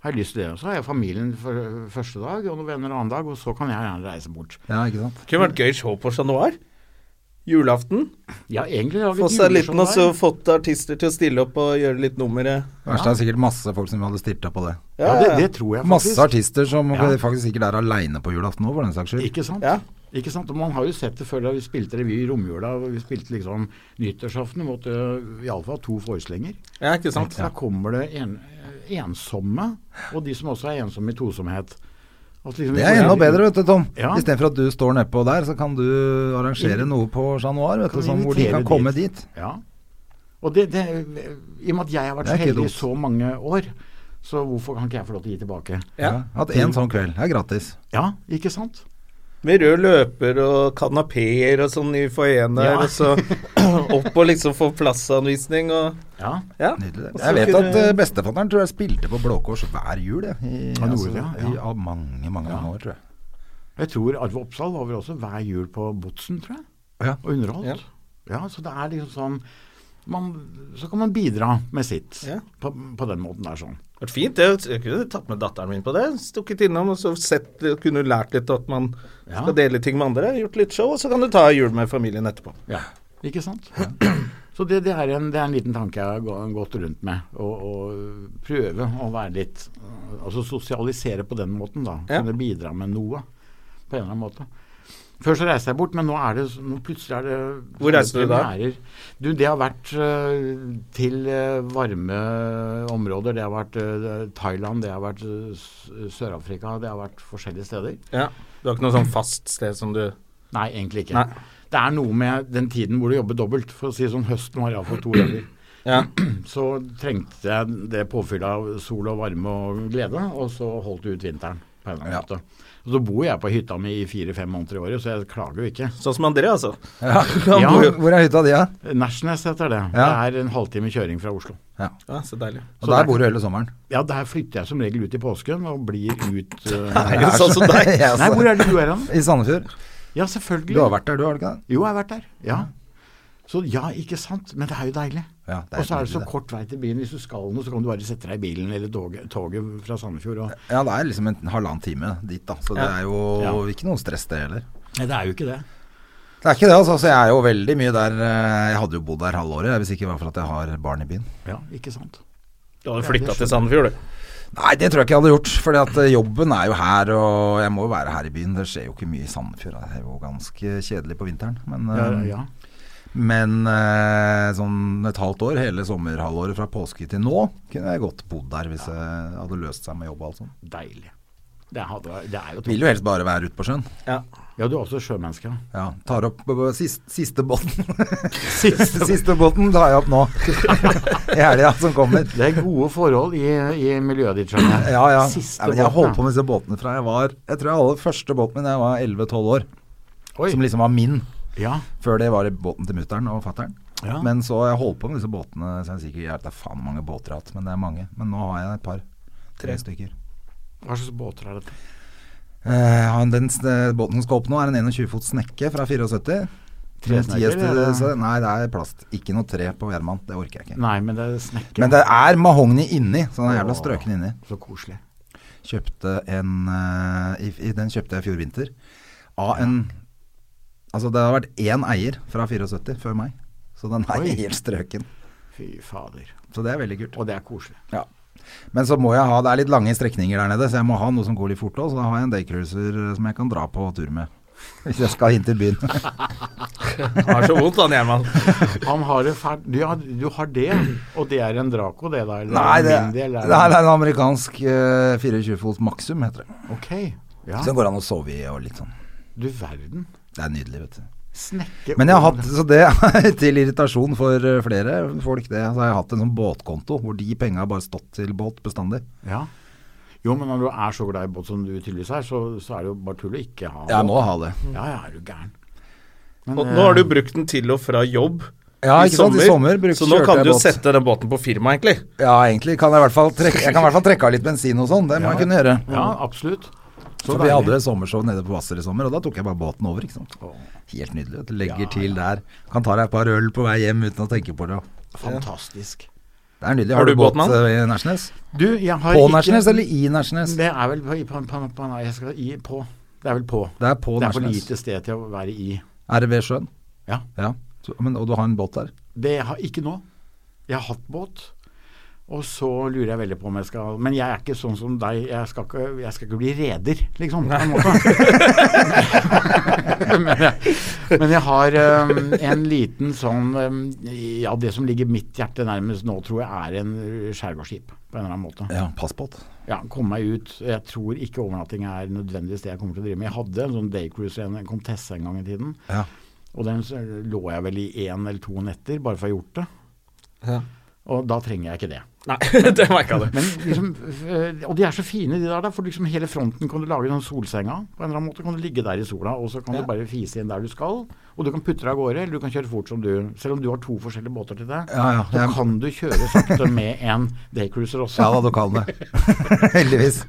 Speaker 3: har jeg lyst til det. Så har jeg familien for, første dag, og noen venner annen dag, og så kan jeg gjerne reise bort.
Speaker 2: Ja, ikke sant.
Speaker 1: Kunne vært gøy show på Chat Noir. Julaften.
Speaker 3: Jeg har egentlig
Speaker 1: Få
Speaker 3: laget
Speaker 1: seg en liten,
Speaker 3: juleshow
Speaker 1: og så
Speaker 3: der.
Speaker 1: fått artister til å stille opp og gjøre litt nummer. eh.
Speaker 2: Verst er sikkert masse folk som hadde stilt opp på det.
Speaker 3: Ja, det, det tror jeg
Speaker 2: Masse
Speaker 3: faktisk.
Speaker 2: artister som
Speaker 3: Ja.
Speaker 2: faktisk sikkert er aleine på julaften nå, for den saks skyld.
Speaker 3: Ikke sant?
Speaker 1: Ja.
Speaker 3: Ikke sant? Og man har jo sett det før da vi spilte revy i romjula. og Vi spilte liksom nyttårsaften. eh, Vi måtte iallfall to forestillinger.
Speaker 1: Ja, ikke sant?
Speaker 3: Da kommer det en, ensomme, og de som også er ensomme i tosomhet. At liksom-
Speaker 2: Det er enda bedre, vet du, Tom.
Speaker 3: Ja.
Speaker 2: Istedenfor at du står nedpå der, så kan du arrangere noe på Chat Noir, vet
Speaker 3: Kan
Speaker 2: du, sånn, hvor de
Speaker 3: invitere
Speaker 2: Mm. kan komme dit.
Speaker 3: Ja. Og det, det, I og med at jeg har vært
Speaker 2: Det er
Speaker 3: så
Speaker 2: ikke
Speaker 3: heldig i
Speaker 2: dumt.
Speaker 3: så mange år, så hvorfor kan ikke jeg få lov til å gi tilbake?
Speaker 2: Ja. At én sånn kveld er gratis.
Speaker 3: Ja, ikke sant?
Speaker 1: Med rød løper og kanapeer og sånn i foajeen der,
Speaker 3: Ja.
Speaker 1: og så opp og liksom få plassanvisning og
Speaker 3: Ja.
Speaker 1: Ja.
Speaker 2: Nydelig.
Speaker 1: Og så
Speaker 2: Jeg vet
Speaker 1: kunne-
Speaker 2: at eh, bestefatteren tror jeg spilte på Blå Kors hver jul, jeg. I, altså,
Speaker 3: Han gjorde det, ja.
Speaker 2: i ja, mange, mange mange år, tror jeg.
Speaker 3: Jeg tror Arve Oppsal var vel også hver jul på Botsen, tror jeg.
Speaker 2: Ja.
Speaker 3: og underholdt.
Speaker 1: Ja.
Speaker 3: Ja. så det er liksom sånn man, Så kan man bidra med sitt
Speaker 1: Ja.
Speaker 3: på, på den måten der sånn.
Speaker 1: Det vært fint, det. Jeg kunne tatt med datteren min på det. Stukket innom og så sett Kunne lært litt at man
Speaker 3: Ja.
Speaker 1: skal dele ting med andre. Gjort litt show, og så kan du ta jul med familien etterpå.
Speaker 3: Ikke sant? Så det, det, er en, det er en liten tanke jeg har gå- gått rundt med. Å å prøve å være litt Altså sosialisere på den måten, da.
Speaker 1: Ja.
Speaker 3: Kunne bidra med noe på en eller annen måte. Før så reiste jeg bort, men nå er det nå plutselig er det
Speaker 1: Hvor reiste du da?
Speaker 3: premierer. Du, det har vært øh, til øh, varme områder. Det har vært øh, Thailand, det har vært øh, S- Sør-Afrika, det har vært forskjellige steder.
Speaker 1: Ja. Du har ikke noe sånn fast sted som du
Speaker 3: Nei, egentlig ikke.
Speaker 1: Nei.
Speaker 3: Det er noe med den tiden hvor du jobber dobbelt. For å si det sånn, høsten var iallfall to jobber.
Speaker 1: Ja.
Speaker 3: Så trengte jeg det påfyllet av sol og varme og glede, og så holdt det ut vinteren på en eller annen
Speaker 2: Ja.
Speaker 3: måte. Og så bor jeg på hytta mi i fire-fem måneder i året, så jeg klager jo ikke.
Speaker 1: Sånn som André, altså.
Speaker 2: Ja.
Speaker 3: Ja.
Speaker 2: Hvor, hvor er hytta di, da?
Speaker 3: Nesjnes heter det.
Speaker 2: Ja.
Speaker 3: Det er en halvtime kjøring fra Oslo.
Speaker 1: Ja, så deilig.
Speaker 2: Og
Speaker 3: Så
Speaker 2: der
Speaker 3: der-
Speaker 2: bor du hele sommeren.
Speaker 3: Ja, der flytter jeg som regel ut i påsken og blir ut eh,
Speaker 1: Er det sånn som deg?
Speaker 2: Jeg,
Speaker 3: Nei, hvor
Speaker 2: altså,
Speaker 3: er det du er hen?
Speaker 2: I Sandefjord.
Speaker 3: Ja,
Speaker 2: Du
Speaker 3: selvfølgelig.
Speaker 2: har vært der, du, har du ikke det?
Speaker 3: Jo, jeg har vært der. Ja. Så ja, ikke sant. Men det er jo deilig.
Speaker 2: Ja, det er
Speaker 3: og så er det så
Speaker 2: nydelig, det.
Speaker 3: kort vei til byen. Hvis du skal noe, så kan du bare sette deg i bilen eller toget, toget fra Sandefjord. Og...
Speaker 2: Ja, det er liksom en halvannen time dit, da. Så det er jo ikke noe stress, det heller.
Speaker 3: Nei, det er jo ikke det.
Speaker 2: Det er ikke det, altså. Så jeg er jo veldig mye der. eh, Jeg hadde jo bodd der halve året hvis ikke det var for at jeg har barn i byen.
Speaker 3: Ja, ikke sant.
Speaker 1: Du hadde
Speaker 3: Ja, det
Speaker 1: flytta til Sandefjord, du.
Speaker 2: Nei, det tror jeg ikke jeg hadde gjort. Fordi at eh, jobben er jo her, og jeg må jo være her i byen. Det skjer jo ikke mye i Sandefjord. da. Det er jo ganske kjedelig på vinteren. Men,
Speaker 3: Ja,
Speaker 2: eh,
Speaker 3: ja.
Speaker 2: men eh, sånn et halvt år, hele sommerhalvåret fra påske til nå, kunne jeg godt bodd der hvis det hadde løst seg med jobb og alt sånt.
Speaker 3: Deilig. Det, hadde, det er jo
Speaker 2: Vil
Speaker 3: tungt.
Speaker 2: jo helst bare være ute på sjøen.
Speaker 1: Ja.
Speaker 3: Ja, du er også sjømenneske.
Speaker 2: Ja, tar opp b- b- sist, siste båten.
Speaker 3: Siste.
Speaker 2: siste båten tar jeg opp nå. I helga som kommer.
Speaker 3: Det er gode forhold i, i miljøet ditt, skjønner jeg.
Speaker 2: Ja, ja.
Speaker 3: Siste
Speaker 2: ja men jeg
Speaker 3: båten,
Speaker 2: holdt på
Speaker 3: ja.
Speaker 2: med disse båtene fra jeg var Jeg tror jeg hadde første båten min da jeg var 11-12 år.
Speaker 3: Oi.
Speaker 2: Som liksom var min.
Speaker 3: Ja.
Speaker 2: Før det var det båten til mutter'n og fatter'n.
Speaker 3: Ja.
Speaker 2: Men så har jeg holdt på med disse båtene. Så jeg er sikkert, jeg vet da faen hvor mange båter jeg har hatt, men det er mange. Men nå har jeg et par. Tre stykker.
Speaker 3: Hva slags båter er dette?
Speaker 2: Eh, han- den s- eh, båten som skal opp nå, er en 21 fots snekke fra 74. Tre
Speaker 3: snekker,
Speaker 2: tieste-
Speaker 3: eller?
Speaker 2: så- Nei, det er plast. Ikke noe tre på Gjerman. Det orker jeg ikke.
Speaker 3: Nei, men det er snekker.
Speaker 2: Men det er mahogni inni, så den er jævla
Speaker 3: Åh.
Speaker 2: strøken inni.
Speaker 3: Så koselig.
Speaker 2: Kjøpte en eh, i, i, Den kjøpte jeg i fjor vinter. Av en Altså, det har vært én eier fra 74 før meg, så den er
Speaker 3: Oi.
Speaker 2: helt strøken.
Speaker 3: Fy fader.
Speaker 2: Så det er veldig kult.
Speaker 3: Og det er koselig.
Speaker 2: Ja. Men så må jeg ha Det er litt lange strekninger der nede, så jeg må ha noe som går litt fort òg. Så da har jeg en daycruiser eh, som jeg kan dra på tur med. Hvis jeg skal inn til byen.
Speaker 1: Han har så vondt, han Gjerman.
Speaker 3: Han har det fælt. Du, har- du har det, og det er en Draco, det da? Eller
Speaker 2: Nei,
Speaker 3: en
Speaker 2: det,
Speaker 3: Bindi,
Speaker 2: det
Speaker 3: eller
Speaker 2: her er en amerikansk eh, 24 fots maksum, heter det.
Speaker 3: Ok. Ja.
Speaker 2: Så går det an å sove i og litt sånn.
Speaker 3: Du verden.
Speaker 2: Det er nydelig, vet du.
Speaker 3: Snekker
Speaker 2: Men jeg har hatt, så det er til irritasjon for eh, flere folk, det, så har jeg hatt en sånn båtkonto hvor de penga har bare stått til båt bestandig.
Speaker 3: Ja. Jo, men når du er så glad i båt som du tydeligvis er, så, så er det jo bare tull å ikke ha
Speaker 2: Jeg
Speaker 3: båt.
Speaker 2: må ha det.
Speaker 3: Ja, ja, er du gæren. Men,
Speaker 1: Og
Speaker 3: eh,
Speaker 1: nå har du brukt den til og fra jobb
Speaker 2: Ja, ikke sant, i sommer brukte-
Speaker 1: så nå
Speaker 2: kjørte
Speaker 1: kan
Speaker 2: jeg
Speaker 1: du jo
Speaker 2: båt.
Speaker 1: sette den båten på firma, egentlig.
Speaker 2: Ja, egentlig kan jeg i hvert fall trekke, jeg kan i hvert fall trekke av litt bensin og sånn. Det må jeg kunne gjøre.
Speaker 3: Ja, absolutt.
Speaker 2: Så vi hadde sommershow nede på Hvasser i sommer, og da tok jeg bare båten over. ikke sant? Helt nydelig. vet du. Legger til der. Kan ta deg et par øl på vei hjem uten å tenke på det.
Speaker 3: Fantastisk.
Speaker 2: Det er nydelig.
Speaker 1: Har
Speaker 2: Har du
Speaker 1: du
Speaker 2: båt
Speaker 1: båtmann?
Speaker 2: eh, i Nærsnes?
Speaker 3: Du, jeg har
Speaker 2: På
Speaker 3: ikke-
Speaker 2: Nærsnes eller i Nærsnes?
Speaker 3: Det er vel på, på, på, på nei, jeg skal, i, på. Det er vel på.
Speaker 2: Det er på
Speaker 3: det er for
Speaker 2: Nærsnes.
Speaker 3: lite sted til å være i.
Speaker 2: Er det ved sjøen?
Speaker 3: Ja.
Speaker 2: Ja. Så, men, og du har en båt der?
Speaker 3: Det jeg har ikke nå. Jeg har hatt båt. Og så lurer jeg veldig på om jeg skal Men jeg er ikke sånn som deg. Jeg skal ikke, jeg skal ikke bli reder, liksom. På en måte. men, jeg, men jeg har um, en liten sånn um, Ja, det som ligger mitt hjerte nærmest nå, tror jeg er en uh, skjærgårdsskip. På en eller annen måte.
Speaker 2: Ja, passbåt.
Speaker 3: Ja, komme meg ut. Jeg tror ikke overnatting er nødvendigvis det jeg kommer til å drive med. Jeg hadde en sånn daycruise, en en Contessa en gang i tiden.
Speaker 2: Ja.
Speaker 3: Og den så lå jeg vel i én eller to netter, bare for å ha gjort det.
Speaker 1: Ja.
Speaker 3: Og da trenger jeg ikke det.
Speaker 1: Nei, det merka du.
Speaker 3: Men liksom, øh, og de er så fine, de der, da, for liksom hele fronten kan du lage sånn solsenga. På en eller annen måte kan du ligge der i sola, og så kan du bare fise inn der du skal. Og du kan putte deg av gårde, eller du kan kjøre fort som du Selv om du har to forskjellige båter til deg,
Speaker 2: Ja, ja,
Speaker 3: så
Speaker 2: jeg-
Speaker 3: kan du kjøre sakte med en daycruiser også.
Speaker 2: Ja da, du kan det. Heldigvis.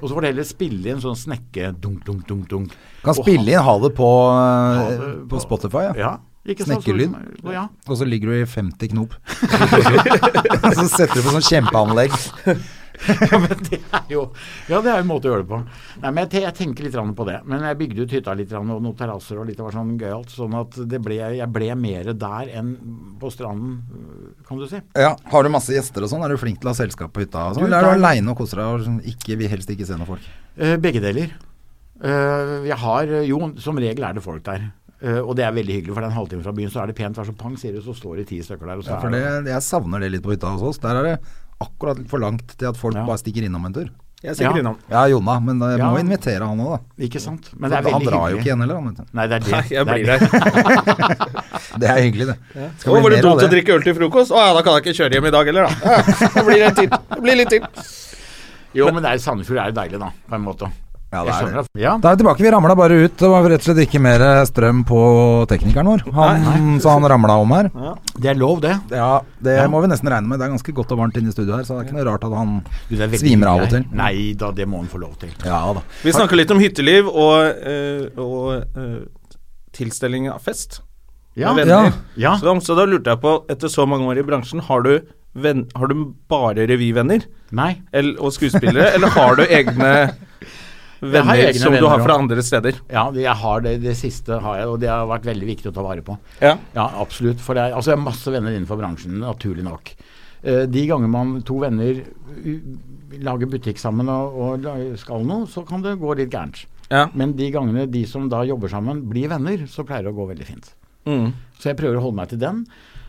Speaker 3: Og så får du heller spille inn sånn snekke dunk, dunk, dunk, dunk.
Speaker 2: Kan
Speaker 3: Og
Speaker 2: spille inn Ha det på, eh,
Speaker 3: Ha det
Speaker 2: på
Speaker 3: på-
Speaker 2: Spotify,
Speaker 3: ha- Ja. Ikke sant? Så-
Speaker 2: Snekkerlyd.
Speaker 3: Ja.
Speaker 2: Og så ligger du i 50 knop. Og så setter du på sånn kjempeanlegg.
Speaker 3: ja, men det er jo Ja, det er en måte å gjøre det på. Nei, men jeg, te- jeg tenker litt grann på det. Men jeg bygde ut hytta litt grann, og noen terrasser og litt det var sånn gøyalt. Sånn at det ble, jeg ble mer der enn på stranden, kan du si.
Speaker 2: Ja, Har du masse gjester og sånn? Er du flink til å ha selskap på hytta? Og sånn?
Speaker 3: Du,
Speaker 2: Eller er du
Speaker 3: der-
Speaker 2: aleine og koser deg og sånn, ikke, vil helst ikke se noen folk?
Speaker 3: Eh, begge deler. Eh, jeg har Jo, som regel er det folk der. Eh, og det er veldig hyggelig, for det er en halvtime fra byen, så er det pent vær som pang, sier du, så står det ti stykker der. Og så
Speaker 2: Ja, for
Speaker 3: er
Speaker 2: det, jeg savner det litt på hytta hos oss. Der er det akkurat for langt til at folk
Speaker 3: Ja.
Speaker 2: bare stikker innom en tur.
Speaker 1: Jeg er
Speaker 3: Ja.
Speaker 1: sikkert innom.
Speaker 2: Ja, Jonna, men jeg
Speaker 3: Ja.
Speaker 2: må invitere han òg, da.
Speaker 3: Ikke sant? Men det er
Speaker 2: han
Speaker 3: veldig
Speaker 2: drar jo
Speaker 3: hyggelig.
Speaker 2: ikke igjen heller, han. Vet du.
Speaker 3: Nei, det er det.
Speaker 1: Nei, jeg
Speaker 3: Det er
Speaker 1: blir
Speaker 3: det.
Speaker 1: der.
Speaker 2: Det er hyggelig, det.
Speaker 1: Å, var det
Speaker 2: mer av
Speaker 1: dumt å drikke øl til frokost? Å ja, da kan jeg ikke kjøre hjem i dag heller, da. Ja, Det blir, en til. Det blir litt til.
Speaker 3: Jo, men det er Sandefjord er jo deilig, da, på en måte.
Speaker 2: Ja,
Speaker 3: Jeg
Speaker 2: det er
Speaker 3: skjønner
Speaker 2: det.
Speaker 3: at Ja,
Speaker 2: Da er vi tilbake. Vi ramla bare ut. Det var rett og slett ikke mer eh, strøm på teknikeren vår, han, så han ramla om her.
Speaker 3: det er lov, det.
Speaker 2: Ja, det må vi nesten regne med. Det er ganske godt og varmt inne i studio her, så det er ikke noe rart at han
Speaker 3: Du, det er veldig
Speaker 2: svimer av
Speaker 3: hyggelig
Speaker 2: og til.
Speaker 3: her. Nei da, det må han få lov til.
Speaker 2: Ja da.
Speaker 1: Vi snakker litt om hytteliv og, eh, og eh, tilstelning av fest.
Speaker 3: Ja,
Speaker 1: med
Speaker 2: ja.
Speaker 1: venner.
Speaker 3: Ja.
Speaker 1: Så, da- så da lurte jeg på, etter så mange år i bransjen, har du, venn, har du bare revyvenner
Speaker 3: Nei.
Speaker 1: El- og skuespillere, eller har du egne venner
Speaker 3: egne
Speaker 1: som du
Speaker 3: venner
Speaker 1: har
Speaker 3: også.
Speaker 1: fra andre steder?
Speaker 3: Ja, det- jeg har det, det siste har jeg, og det har vært veldig viktig å ta vare på.
Speaker 1: Ja.
Speaker 3: Ja, absolutt. For det er, altså, jeg har masse venner innenfor bransjen, naturlig nok. Eh, de ganger man to venner u- lager butikk sammen og, og la- skal noe, så kan det gå litt gærent.
Speaker 1: Ja.
Speaker 3: Men de gangene de som da jobber sammen, blir venner, så pleier det å gå veldig fint.
Speaker 1: Mm.
Speaker 3: Så jeg prøver å holde meg til den,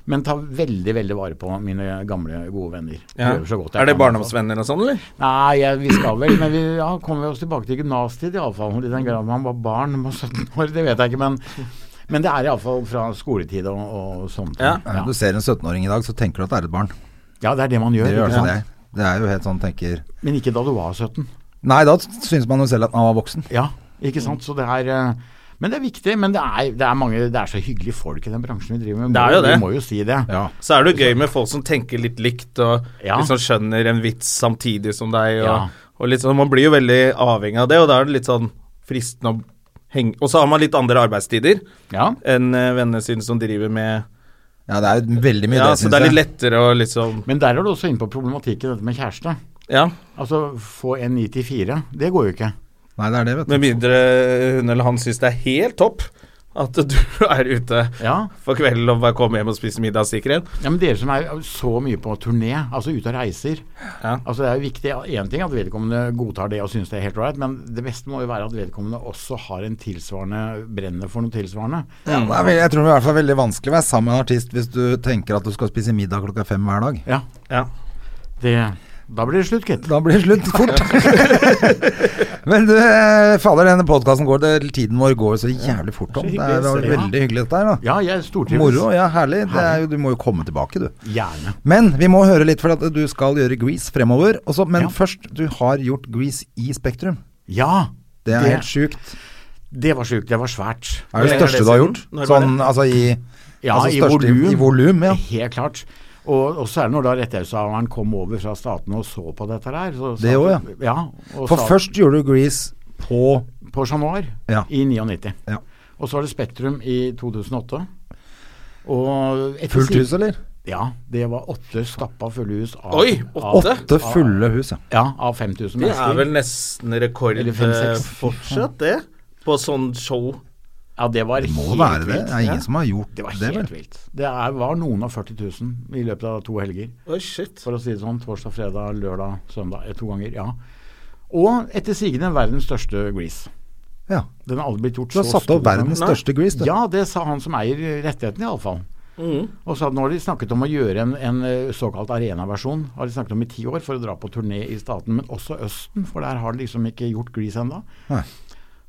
Speaker 3: men ta veldig, veldig vare på mine gamle, gode venner.
Speaker 1: Ja.
Speaker 3: Prøver så godt jeg
Speaker 1: Er det
Speaker 3: kan, altså.
Speaker 1: barndomsvenner og sånn, eller?
Speaker 3: Nei, jeg, vi skal vel, men vi ja, kommer vi oss tilbake til gymnastid iallfall. I den grad man var barn man var 17 år, det vet jeg ikke, men, men det er iallfall fra skoletid og, og sånne ting.
Speaker 1: Ja.
Speaker 3: Ja.
Speaker 2: Du ser en 17-åring i dag, så tenker du at det er et barn.
Speaker 3: Ja, det er det man
Speaker 2: Det
Speaker 3: gjør.
Speaker 2: gjør
Speaker 3: ikke
Speaker 2: det,
Speaker 3: sant?
Speaker 2: det. Det er jo helt sånn tenker
Speaker 3: Men ikke da du var 17.
Speaker 2: Nei, da syns man jo selv at man var voksen.
Speaker 3: Ja, ikke sant. Så det er eh, Men det er viktig. Men det er, det er mange Det er så hyggelige folk i den bransjen vi driver med.
Speaker 1: Det er jo
Speaker 3: Vi må-
Speaker 1: det.
Speaker 3: Vi må jo si det.
Speaker 2: Ja.
Speaker 1: Så er det jo gøy med folk som tenker litt likt, og
Speaker 3: Ja.
Speaker 1: liksom skjønner en vits samtidig som deg. Og,
Speaker 3: Ja.
Speaker 1: og litt sånn, Man blir jo veldig avhengig av det, og da er det litt sånn fristende å heng- Og så har man litt andre arbeidstider
Speaker 3: Ja.
Speaker 1: enn eh, vennene sine som driver med
Speaker 2: Ja, det er jo veldig mye
Speaker 1: Ja,
Speaker 2: det,
Speaker 1: så
Speaker 2: syns
Speaker 1: det er
Speaker 2: jeg.
Speaker 1: litt lettere å liksom
Speaker 3: Men der er du også inne på problematikken dette med kjæreste.
Speaker 1: Ja.
Speaker 3: Altså få en 9 til 4, det går jo ikke.
Speaker 2: Nei, det er det, vet du.
Speaker 1: Med mindre hun eller han syns det er helt topp at du er ute
Speaker 3: Ja.
Speaker 1: for kvelden og bare kommer hjem og spiser middag sikkert.
Speaker 3: Ja, men Dere som er så mye på turné, altså ute og reiser.
Speaker 1: Ja.
Speaker 3: Altså Det er jo viktig én ting at vedkommende godtar det og syns det er helt ålreit, men det beste må jo være at vedkommende også har en tilsvarende brenner for noe tilsvarende.
Speaker 2: Ja, det er vel- jeg tror det er i hvert fall veldig vanskelig å være sammen med en artist hvis du tenker at du skal spise middag klokka fem hver dag.
Speaker 3: Ja,
Speaker 1: Ja.
Speaker 3: det, Da blir det slutt, gitt.
Speaker 2: Da blir det slutt fort. Men du, eh, fader, denne podkasten går det, Tiden vår går så jævlig fort om. Det er
Speaker 3: hyggelig,
Speaker 2: det var
Speaker 3: ja.
Speaker 2: veldig hyggelig dette her, da.
Speaker 3: Ja, jeg stortrives.
Speaker 2: Moro, ja, herlig. Det er jo, du må jo komme tilbake, du.
Speaker 3: Gjerne.
Speaker 2: Men vi må høre litt, for at du skal gjøre Grease fremover. Også, men
Speaker 3: Ja.
Speaker 2: først, du har gjort Grease i Spektrum.
Speaker 3: Ja.
Speaker 2: Det er
Speaker 3: Det-
Speaker 2: helt sjukt.
Speaker 3: Det var sjukt. Det var svært.
Speaker 2: Det er det
Speaker 1: lenge er
Speaker 2: største
Speaker 1: det
Speaker 2: du har
Speaker 1: siden?
Speaker 2: gjort.
Speaker 1: Når var
Speaker 2: Sånn altså i
Speaker 3: Ja,
Speaker 2: altså,
Speaker 3: i
Speaker 2: største-
Speaker 3: volum.
Speaker 2: I volum, ja.
Speaker 3: Helt klart. Og, og særlig når da rettighetshaveren kom over fra statene og så på dette her. Så,
Speaker 2: Det
Speaker 3: sa-
Speaker 2: også,
Speaker 3: ja. og
Speaker 2: For
Speaker 3: sa-
Speaker 2: først gjorde du Grease på
Speaker 3: På Chat Noir
Speaker 2: Ja.
Speaker 3: i 99.
Speaker 2: Ja.
Speaker 3: Og så var det Spektrum i 2008. Og etter
Speaker 2: fullt
Speaker 3: si-
Speaker 2: hus, eller?
Speaker 3: Ja. Det var åtte stappa fulle hus av,
Speaker 1: Oi,
Speaker 3: av,
Speaker 1: åtte?
Speaker 2: Åtte fulle hus, ja.
Speaker 3: ja, av 5000
Speaker 1: Det er
Speaker 3: mennesker.
Speaker 1: vel nesten rekord
Speaker 3: Eller fem,
Speaker 1: eh,
Speaker 3: seks.
Speaker 1: fortsatt, det. På sånn show.
Speaker 3: Ja, det var
Speaker 2: Det må
Speaker 3: helt
Speaker 2: være det.
Speaker 3: vilt.
Speaker 2: Det er ingen som har gjort
Speaker 3: Det var
Speaker 2: det,
Speaker 3: helt
Speaker 2: vel?
Speaker 3: vilt. Det er, var noen av 40 000 i løpet av to helger.
Speaker 1: Oi, shit.
Speaker 3: For å si det sånn. Torsdag, fredag, lørdag, søndag. eh, To ganger, ja. Og etter sigende verdens største grease.
Speaker 2: Ja.
Speaker 3: Den har aldri blitt gjort
Speaker 2: Du har
Speaker 3: så
Speaker 2: satt
Speaker 3: stor
Speaker 2: opp verdens
Speaker 3: gang.
Speaker 2: største grease, du.
Speaker 3: Ja, det sa han som eier rettigheten, iallfall.
Speaker 2: Mm.
Speaker 3: Og så hadde- nå har de snakket om å gjøre en, en eh, såkalt arenaversjon. Har de snakket om i ti år for å dra på turné i staten, men også Østen, for der har de liksom ikke gjort Grease ennå.
Speaker 2: Nei.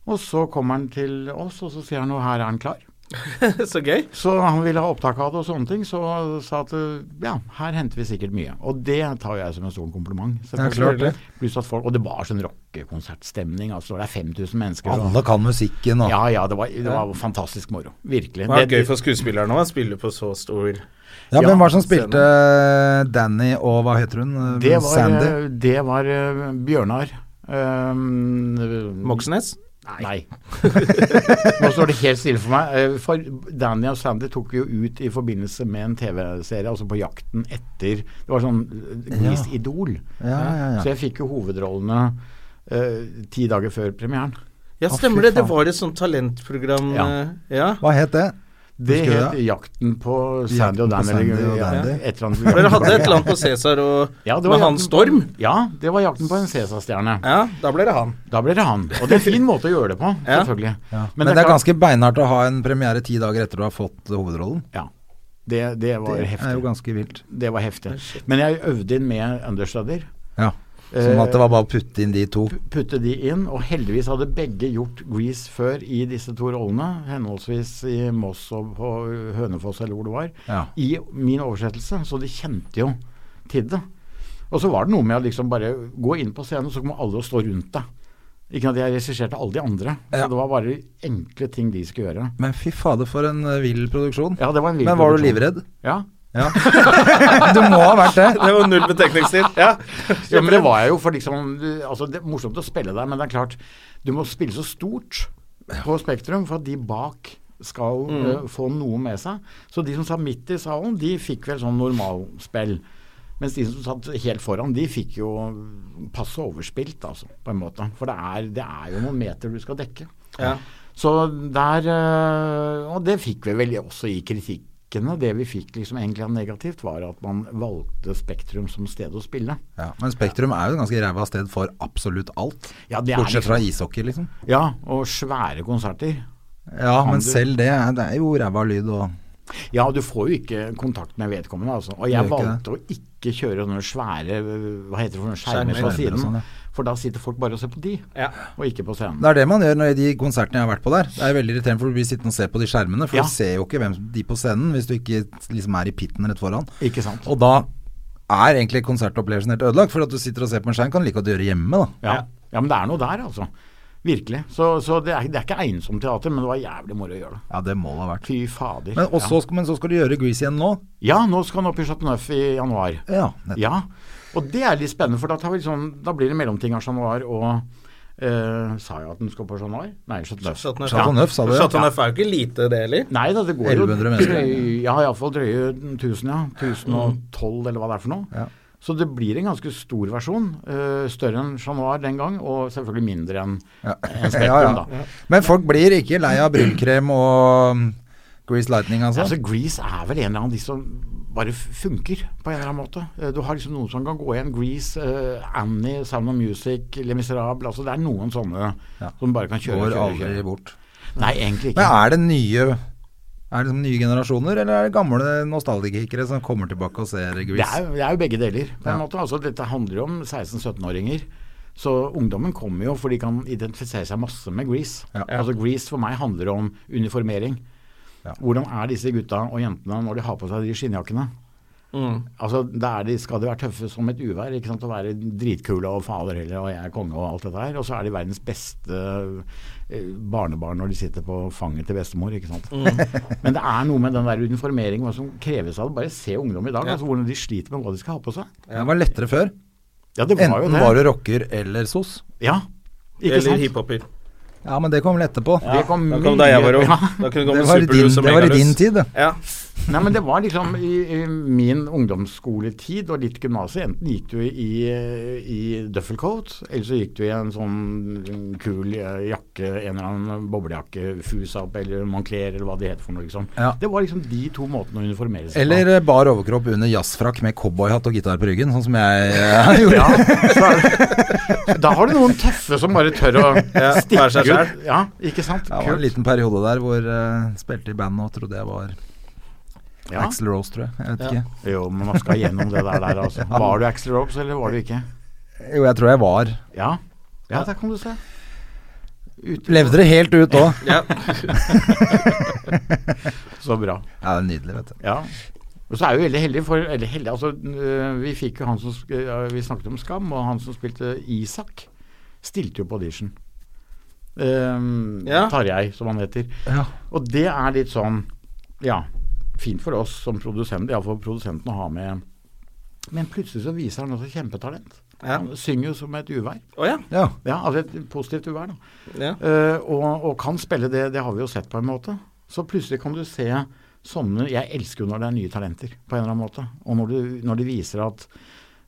Speaker 3: Og så kommer han til oss, og så sier han jo her er han klar.
Speaker 1: Så gøy.
Speaker 3: Så han ville ha opptak av det og sånne ting, så sa at eh, ja, her henter vi sikkert mye. Og det tar jeg som en stor kompliment. selvfølgelig.
Speaker 2: klart det.
Speaker 3: Pluss at folk, Og det var sånn rockekonsertstemning. Altså, det er 5000 mennesker. og-
Speaker 2: Alle kan musikken og
Speaker 3: ja, ja, det var, det var fantastisk moro. Virkelig.
Speaker 1: Det er gøy for skuespillerne òg, å spille på så stor
Speaker 2: Ja,
Speaker 3: Ja,
Speaker 2: hvem var det som spilte eh, Danny og hva heter hun?
Speaker 3: Det var,
Speaker 2: Sandy?
Speaker 3: eh, Det var eh, Bjørnar. Um,
Speaker 1: Moxnes.
Speaker 3: Nei. Nå står det helt stille for meg. Eh, For Danny og Sandy tok jo ut i forbindelse med en TV-serie, altså på jakten etter Det var sånn eh, Grease Idol.
Speaker 2: Ja, ja, ja.
Speaker 3: Så jeg fikk jo hovedrollene eh, ti dager før premieren.
Speaker 1: Ja,
Speaker 2: Å, fy
Speaker 1: stemmer det. Det
Speaker 2: faen.
Speaker 1: var et sånt talentprogram.
Speaker 3: Ja.
Speaker 1: eh, ja.
Speaker 2: Hva het det?
Speaker 3: Det
Speaker 2: Husker du
Speaker 3: het
Speaker 2: det?
Speaker 3: Jakten på
Speaker 2: Jakten
Speaker 3: Sandy og
Speaker 2: på
Speaker 3: Danny.
Speaker 2: Sandy
Speaker 3: eller-
Speaker 2: og
Speaker 3: ja,
Speaker 2: Dandy.
Speaker 3: et eller annet.
Speaker 1: For Dere hadde et eller annet på Cæsar og
Speaker 3: Ja, det var
Speaker 1: med han
Speaker 3: jakten på-
Speaker 1: Storm.
Speaker 3: Ja, det var Jakten på en Cæsar-stjerne.
Speaker 1: Ja, da ble det han.
Speaker 3: Da ble det han. Og det er en fin måte å gjøre det på,
Speaker 1: Ja.
Speaker 3: selvfølgelig.
Speaker 2: Men, det er
Speaker 3: klart-
Speaker 2: ganske beinhardt å ha en premiere ti dager etter du har fått hovedrollen.
Speaker 3: Ja. Det, det var
Speaker 2: Det
Speaker 3: heftig.
Speaker 2: er jo ganske vilt.
Speaker 3: Det var heftig. Men jeg øvde inn med understudier.
Speaker 2: Ja. Sånn at det var bare å putte inn de to.
Speaker 3: Putte de inn, og heldigvis hadde begge gjort Grease før i disse to rollene. Henholdsvis i Moss og på Hønefoss, eller hvor det var.
Speaker 2: Ja.
Speaker 3: I min oversettelse, så de kjente jo til det. Og så var det noe med å liksom bare gå inn på scenen, så må alle stå rundt deg. Ikke at jeg regisserte alle de andre,
Speaker 2: Ja.
Speaker 3: så det var bare enkle ting de skulle gjøre.
Speaker 2: Men fy fader, for en eh, vill produksjon.
Speaker 3: Ja, det var en vill
Speaker 2: Men var du
Speaker 3: produksjon.
Speaker 2: livredd?
Speaker 3: Ja.
Speaker 2: Ja. du må ha vært det.
Speaker 1: Det var null betenkningstid. Ja.
Speaker 3: Ja, men det var jeg jo for liksom du- Altså, det er morsomt å spille der, men det er klart Du må spille så stort på Spektrum for at de bak skal eh, få noe med seg. Så de som satt midt i salen, de fikk vel sånn normalspill. Mens de som satt helt foran, de fikk jo passe overspilt, altså, på en måte. For det er, det er jo noen meter du skal dekke.
Speaker 1: Ja.
Speaker 3: Så der eh, Og det fikk vi vel også i kritikkene. Det vi fikk liksom egentlig av negativt, var at man valgte Spektrum som sted å spille.
Speaker 2: Ja, men Spektrum er jo et ganske ræva sted for absolutt alt.
Speaker 3: Ja, det er
Speaker 2: Bortsett
Speaker 3: liksom-
Speaker 2: fra ishockey, liksom.
Speaker 3: Ja, og svære konserter.
Speaker 2: Ja, men
Speaker 3: du-
Speaker 2: selv det, er- det er jo ræva lyd og
Speaker 3: Ja, du får jo ikke kontakt med vedkommende, altså. Og
Speaker 2: Gjør
Speaker 3: jeg
Speaker 2: ikke
Speaker 3: valgte å ikke kjøre noen svære øh, hva heter det for noen
Speaker 1: Skjermer.
Speaker 3: skjermer
Speaker 2: Skjermer
Speaker 3: fra
Speaker 2: og
Speaker 3: siden.
Speaker 2: sånn, ja.
Speaker 3: For da sitter folk bare og ser på de,
Speaker 1: Ja.
Speaker 3: og ikke på scenen.
Speaker 2: Det er det man gjør når i de konsertene jeg har vært på der. Det er veldig irriterende, for du blir sittende og se på de skjermene, for
Speaker 3: Ja.
Speaker 2: du ser jo ikke hvem som- de på scenen hvis du ikke liksom er i pitten rett foran.
Speaker 3: Ikke sant.
Speaker 2: Og da er egentlig konsertopplevelsen helt ødelagt, for at du sitter og ser på en skjerm kan du like godt gjøre hjemme, da.
Speaker 3: Ja. ja, men det er noe der, altså. Virkelig. Så, så det, er, det er ikke egnsomt teater, men det var jævlig moro å gjøre det.
Speaker 2: Ja, det må det ha vært.
Speaker 3: Fy fader.
Speaker 2: Men, og så skal- men så skal du gjøre Grease igjen nå?
Speaker 3: ja. ja, nå skal han opp i Chateau Neuf i januar.
Speaker 2: Ja. nett-
Speaker 3: liksom, Ja, og det er litt spennende, for da, tar vi sånn, da blir det mellomting av Chat Noir og Eh, sa jeg at den skal på Chat Noir? Nei, Chat Neuf.
Speaker 1: Chateauneuf.
Speaker 2: Chateauneuf, sa du det?
Speaker 1: Chateauneuf er jo ikke lite, det heller.
Speaker 3: Nei da, det går jo
Speaker 2: 1100 mennesker. Mm.
Speaker 3: drøy- Ja, iallfall drøye 1000, ja. 1012 eller hva det er for noe.
Speaker 2: Ja.
Speaker 3: Så det blir en ganske stor versjon. eh, større enn Chat Noir den gang, og selvfølgelig mindre enn enn Spektrum,
Speaker 2: ja,
Speaker 3: da.
Speaker 2: ja. Men folk blir ikke lei av brylkrem og mm, Grease Lightning, altså.
Speaker 3: Altså, Grease er vel en eller annen av de som bare f- funker på en eller annen måte. Eh, Du har liksom noen som kan gå igjen. Grease, eh, Annie, Sound of Music, Les Miserables. Altså, det er noen sånne
Speaker 2: Ja.
Speaker 3: som bare kan kjøre.
Speaker 2: Går
Speaker 3: kjøre,
Speaker 2: aldri
Speaker 3: kjøre.
Speaker 2: bort.
Speaker 3: Nei, egentlig
Speaker 2: Men
Speaker 3: ikke.
Speaker 2: er det nye er det liksom nye generasjoner, eller er det gamle nostalgikere som kommer tilbake og ser
Speaker 3: Det
Speaker 2: Grease?
Speaker 3: er, jo- det er jo begge deler, på en
Speaker 2: Ja.
Speaker 3: måte. Altså, dette handler jo om 16-17-åringer. Så ungdommen kommer jo, for de kan identifisere seg masse med Grease.
Speaker 2: Ja.
Speaker 3: Altså, Grease for meg handler om uniformering.
Speaker 2: Ja.
Speaker 3: Hvordan er disse gutta og jentene når de har på seg de skinnjakkene?
Speaker 1: Mm.
Speaker 3: Altså, der de skal de være tøffe som et uvær, ikke sant? og være dritkule og fader heller, og jeg er konge og alt dette her. Og så er de verdens beste eh, barnebarn når de sitter på fanget til bestemor, ikke sant.
Speaker 1: Mm.
Speaker 3: Men det er noe med den der uniformeringen hva som kreves av det. Bare se ungdom i dag, altså hvordan de sliter med hva de skal ha på seg.
Speaker 2: Det var lettere før.
Speaker 3: Ja, det var jo
Speaker 2: Enten
Speaker 3: det.
Speaker 2: var du rocker eller sos.
Speaker 3: Ja, ikke
Speaker 1: Eller
Speaker 3: sant?
Speaker 1: hiphoper.
Speaker 2: Ja, men det kom vel etterpå.
Speaker 3: Det kom
Speaker 1: Da kom da jeg var ung.
Speaker 3: Ja.
Speaker 1: Da kunne det komme
Speaker 2: Det var i
Speaker 1: Superlus
Speaker 2: din-
Speaker 1: og
Speaker 2: det var i
Speaker 1: Megalus.
Speaker 2: din tid, det.
Speaker 1: Ja.
Speaker 3: Nei, men det var liksom i, i min ungdomsskoletid og litt gymnaset. Enten gikk du i, i duffelcoat, eller så gikk du i en sånn kul eh, jakke, en eller annen boblejakke, Fusap eller Moncler eller hva det heter for noe, liksom.
Speaker 2: Ja.
Speaker 3: Det var liksom de to måtene å uniformere seg
Speaker 2: Eller eh, bar overkropp under jazzfrakk med cowboyhatt og gitar på ryggen, sånn som jeg eh, gjorde.
Speaker 3: Ja, så er- da har du noen tøffe som bare tør å
Speaker 1: Ja,
Speaker 3: stikke
Speaker 1: være seg
Speaker 3: ut.
Speaker 1: selv.
Speaker 3: Ja, ikke sant?
Speaker 2: Det var en liten periode der hvor jeg spilte i band og trodde jeg var
Speaker 3: Ja.
Speaker 2: Axl Rose, tror jeg. Jeg vet ikke.
Speaker 3: Jo, men man skal gjennom det der, der altså. Var du Axel Robes, eller var du ikke?
Speaker 2: Jo, jeg tror jeg var.
Speaker 3: Ja. Ja, der kan du se. Ute.
Speaker 2: Levde det helt ut òg.
Speaker 1: ja.
Speaker 3: Så bra.
Speaker 2: Ja, det er nydelig, vet du.
Speaker 3: Ja. Og så er vi veldig heldige, for eller heldige, altså, øh, vi fikk jo han som sk- øh, Vi snakket om Skam, og han som spilte Isak, stilte jo på audition. Um,
Speaker 1: Ja.
Speaker 3: Tarjei, som han heter.
Speaker 2: Ja.
Speaker 3: Og det er litt sånn Ja, fint for oss som produsent, iallfall produsenten å ha med Men plutselig så viser han også kjempetalent.
Speaker 1: Ja.
Speaker 3: Han synger jo som et uvær.
Speaker 1: Å ja.
Speaker 2: ja.
Speaker 3: Ja, altså et positivt uvær, da.
Speaker 1: ja.
Speaker 3: Eh, og, og kan spille det, det har vi jo sett på en måte. Så plutselig kan du se sånne Jeg elsker jo når det er nye talenter, på en eller annen måte. Og når, du, når de viser at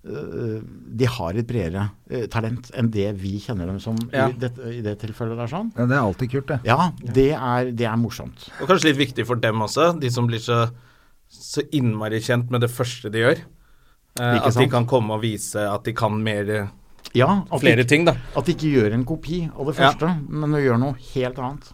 Speaker 3: eh, de har et bredere eh, talent enn det vi kjenner dem som
Speaker 1: Ja.
Speaker 3: i, det, i det tilfellet der sånn.
Speaker 2: Ja, Det er alltid kult, det.
Speaker 3: Ja, det er, det er morsomt.
Speaker 1: Og kanskje litt viktig for dem også, de som blir så, så innmari kjent med det første de gjør. Eh,
Speaker 3: Ikke
Speaker 1: at de
Speaker 3: sant?
Speaker 1: kan komme og vise at de kan mer, eh,
Speaker 3: Ja, at
Speaker 1: flere
Speaker 3: de,
Speaker 1: ting, da.
Speaker 3: At de ikke gjør en kopi av det
Speaker 1: Ja.
Speaker 3: første, men de gjør noe helt annet.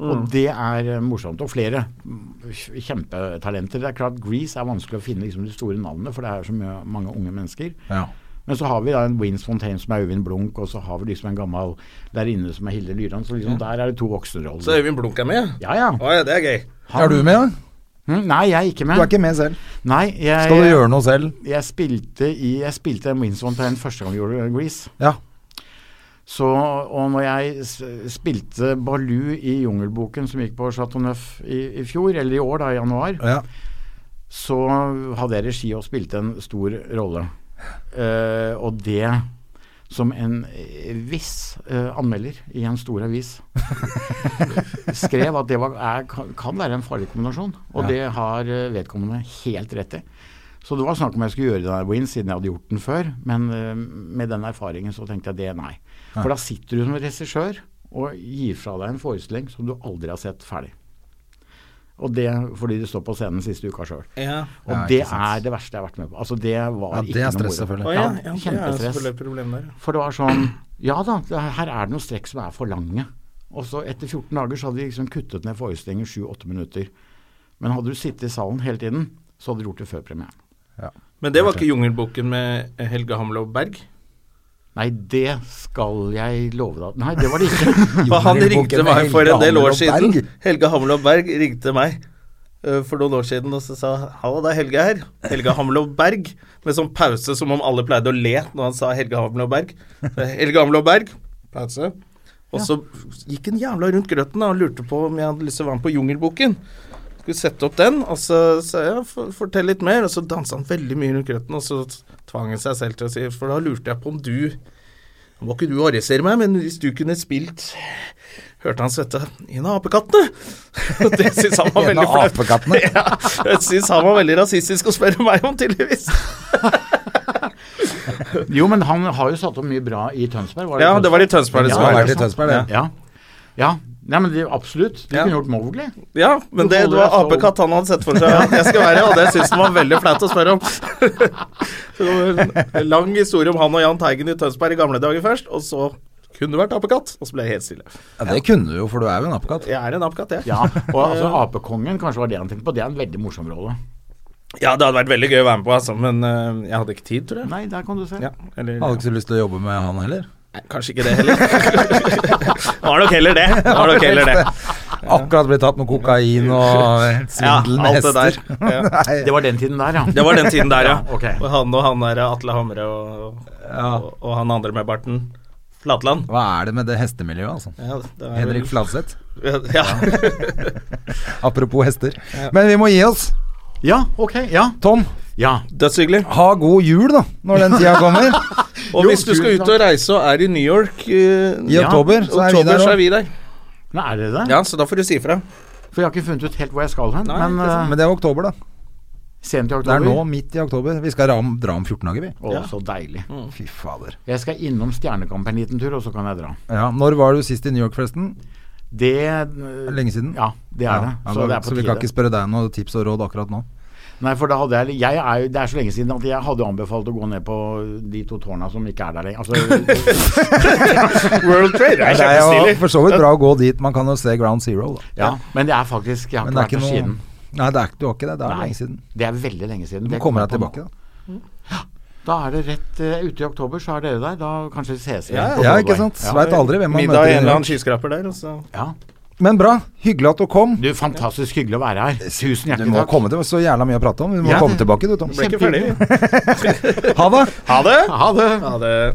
Speaker 3: Og
Speaker 2: Mm.
Speaker 3: det er eh, morsomt. Og flere mm, kjempetalenter. Det er klart Grease er vanskelig å finne liksom, de store navnene, for det er så mye, mange unge mennesker.
Speaker 2: Ja.
Speaker 3: Men så har vi da en Wins Fontaine som er Øyvind Blunk, og så har vi liksom en gammel der inne som er Hilde Lyran. Så liksom der er det to voksenroller.
Speaker 1: Så Øyvind Blunk er med.
Speaker 3: Ja, ja.
Speaker 1: Å ja, det er gøy.
Speaker 3: Han-
Speaker 2: Er du med, da?
Speaker 3: Mm, nei, jeg er ikke med.
Speaker 2: Du er ikke med selv.
Speaker 3: Nei, jeg, eh,
Speaker 2: Skal du gjøre noe selv?
Speaker 3: jeg spilte i Jeg spilte en Wins Fontaine første gang vi gjorde Grease.
Speaker 2: Ja.
Speaker 3: Så, og når jeg s- spilte Baloo i Jungelboken, som gikk på Chateau Neuf i, i fjor, eller i år, da, i januar,
Speaker 2: ja.
Speaker 3: så hadde jeg regi og spilte en stor rolle. Eh, og det som en eh, viss eh, anmelder i en stor avis skrev at det var, er, kan- kan være en farlig kombinasjon. Og det har eh, vedkommende helt rett i. Så det var snakk om jeg skulle gjøre den der Win, siden jeg hadde gjort den før. Men eh, med den erfaringen så tenkte jeg det, nei. For da sitter du som regissør og gir fra deg en forestilling som du aldri har sett ferdig. Og det fordi du står på scenen siste uka sjøl.
Speaker 1: Ja.
Speaker 3: Og
Speaker 2: Ja, ikke
Speaker 3: det
Speaker 2: sant.
Speaker 3: er det verste jeg har vært med på. Altså det var
Speaker 2: Ja, det
Speaker 3: ikke
Speaker 2: er
Speaker 3: noe
Speaker 2: stress,
Speaker 3: moro.
Speaker 2: selvfølgelig.
Speaker 1: Å ja,
Speaker 3: Ja,
Speaker 1: ja, det er selvfølgelig
Speaker 3: kjempestress.
Speaker 1: et problem der. ja.
Speaker 3: For det var sånn Ja da, det- her er det noen strekk som er for lange. Og så etter 14 dager så hadde de liksom kuttet ned forestillingen 7-8 minutter. Men hadde du sittet i salen hele tiden, så hadde du gjort det før premieren.
Speaker 1: Men det var ikke Jungelboken med Helge Hamlov Berg.
Speaker 3: Nei, det skal jeg love deg. Nei, det var det ikke.
Speaker 1: For han ringte
Speaker 2: Jungelboken med
Speaker 1: meg for
Speaker 2: Helge
Speaker 1: en del år
Speaker 2: Hamlov
Speaker 1: siden.
Speaker 2: Berg.
Speaker 1: Helge Hamlov Berg ringte meg eh, for noen år siden og så sa Hallo, det er Helge her. Helge Hamlov Berg. Med sånn pause som om alle pleide å le når han sa Helge Hamlov Berg. Så, Helge Hamlov Berg. Pause. Og så gikk en jævla rundt grøten da, og lurte på om jeg hadde lyst til å være med på Jungelboken. Skulle sette opp den, og så sa jeg "For- fortell litt mer, og så dansa han veldig mye rundt grøten, og så tvang han seg selv til å si For da lurte jeg på om du Må ikke du arrestere meg, men hvis du kunne spilt Hørte han svette En av apekattene! Det syns han var
Speaker 2: En
Speaker 1: veldig
Speaker 2: av
Speaker 1: flaut.
Speaker 2: apekattene?
Speaker 1: ja, det syns han var veldig rasistisk å spørre meg om, tydeligvis.
Speaker 3: Jo, men han har jo satt opp mye bra i Tønsberg. var
Speaker 1: Ja, det var i Tønsberg det
Speaker 2: Ja,
Speaker 1: skulle
Speaker 2: han
Speaker 1: være.
Speaker 2: har vært i Tønsberg, det.
Speaker 3: Ja. ja. Nei, men de, absolutt. De
Speaker 1: Ja.
Speaker 3: kunne gjort Mowgli.
Speaker 1: Ja, men det, det var apekatt han hadde sett for seg at jeg skal være, og det syns han var veldig flaut å spørre om. Så det var en lang historie om han og Jahn Teigen i Tønsberg i gamle dager først, og så kunne det vært apekatt, og så ble jeg helt stille.
Speaker 2: Ja, det kunne du jo, for du er jo en apekatt.
Speaker 1: Jeg er en apekatt, jeg.
Speaker 3: Ja, og altså Apekongen, kanskje var det han tenkte på. Det er en veldig morsom rolle.
Speaker 1: Ja, det hadde vært veldig gøy å være med på, altså, men eh, jeg hadde ikke tid, tror jeg.
Speaker 3: Nei, der kan du se.
Speaker 1: Ja, eller,
Speaker 2: Hadde ikke så lyst til å jobbe med han heller.
Speaker 1: Nei, kanskje ikke det heller. Var nok heller det. Var nok heller det.
Speaker 2: Akkurat blitt tatt med kokain og svindel
Speaker 1: Ja,
Speaker 2: med
Speaker 1: alt det der.
Speaker 2: hester. Nei,
Speaker 3: Det var den tiden der, ja.
Speaker 1: Det var den tiden der, ja.
Speaker 3: Ja, ok.
Speaker 1: Og han og han der Atle Hamre og, og, og han andre med barten. Flatland.
Speaker 2: Hva er det med det hestemiljøet, altså?
Speaker 1: Ja, det er
Speaker 2: Henrik
Speaker 1: vel-
Speaker 2: Fladseth.
Speaker 1: Ja.
Speaker 2: Apropos hester. Men vi må gi oss.
Speaker 3: Ja, ok. Ja.
Speaker 2: Tom,
Speaker 3: ja.
Speaker 1: Dødshyggelig.
Speaker 2: ha god jul, da, når den tida kommer.
Speaker 1: Og
Speaker 3: Jo,
Speaker 1: hvis du skal
Speaker 3: tusen
Speaker 1: ut og reise og er i New York
Speaker 2: I
Speaker 1: eh,
Speaker 3: Ja,
Speaker 2: oktober, så er vi
Speaker 1: oktober,
Speaker 2: der
Speaker 1: så er
Speaker 2: òg.
Speaker 1: vi der.
Speaker 3: Nei, er det det?
Speaker 1: Ja, så da får du si ifra.
Speaker 3: For jeg har ikke funnet ut helt hvor jeg skal hen.
Speaker 1: Nei,
Speaker 3: men
Speaker 1: ikke sant.
Speaker 3: eh,
Speaker 2: Men det er oktober, da.
Speaker 3: sent i
Speaker 2: Det
Speaker 3: oktober.
Speaker 2: er nå, midt i oktober. Vi skal ram, dra om 14 dager, vi.
Speaker 3: Å,
Speaker 1: Ja. Mm.
Speaker 3: så deilig.
Speaker 2: Fy fader.
Speaker 3: Jeg skal innom Stjernekamp en liten tur, og så kan jeg dra.
Speaker 2: Ja, når var du sist i New York, forresten?
Speaker 3: Det
Speaker 2: Er det Lenge siden?
Speaker 3: Ja, det er det.
Speaker 2: Ja,
Speaker 3: så
Speaker 2: da-
Speaker 3: det er på
Speaker 2: vi kan
Speaker 3: tide.
Speaker 2: ikke spørre deg noe tips og råd akkurat nå.
Speaker 3: Nei, for da hadde jeg, jeg er jo, Det er så lenge siden at jeg hadde jo anbefalt å gå ned på de to tårna som ikke er der lenger. Altså,
Speaker 1: World Trade er
Speaker 2: Det er jo
Speaker 1: kjempestilig.
Speaker 2: for så vidt bra å gå dit. Man kan jo se Ground Zero, da.
Speaker 3: ja, men det er faktisk Jeg har
Speaker 2: Men det er
Speaker 3: ikke
Speaker 2: ikke
Speaker 3: vært der
Speaker 2: noe
Speaker 3: siden.
Speaker 2: Nei, det er, du har ikke det. Det er
Speaker 3: Nei,
Speaker 2: lenge siden.
Speaker 3: Det er veldig lenge siden.
Speaker 2: Du
Speaker 3: Det
Speaker 2: kommer deg
Speaker 3: på nå.
Speaker 2: tilbake, da.
Speaker 3: Da er det rett eh, ute i oktober, så er dere der. Da kanskje vi ses igjen.
Speaker 1: Ja,
Speaker 3: på
Speaker 2: Ja,
Speaker 3: Broadway.
Speaker 2: ikke sant.
Speaker 3: Ja.
Speaker 2: Veit aldri hvem man
Speaker 1: Middag i
Speaker 2: møter. i New
Speaker 1: en eller annen
Speaker 2: York.
Speaker 1: skyskraper der, altså. og så
Speaker 3: Ja.
Speaker 2: Men bra. Hyggelig at du kom.
Speaker 3: Du, fantastisk hyggelig å være her. Tusen
Speaker 2: Du
Speaker 3: hjertelig
Speaker 2: må
Speaker 3: takk.
Speaker 2: komme til, så jævla mye å prate om. Du må
Speaker 3: Ja,
Speaker 2: komme
Speaker 3: det-
Speaker 2: tilbake, du, Tom.
Speaker 1: ble ikke ferdig.
Speaker 2: Ha det!
Speaker 1: Ha det!
Speaker 3: Ha det.
Speaker 1: Ha det.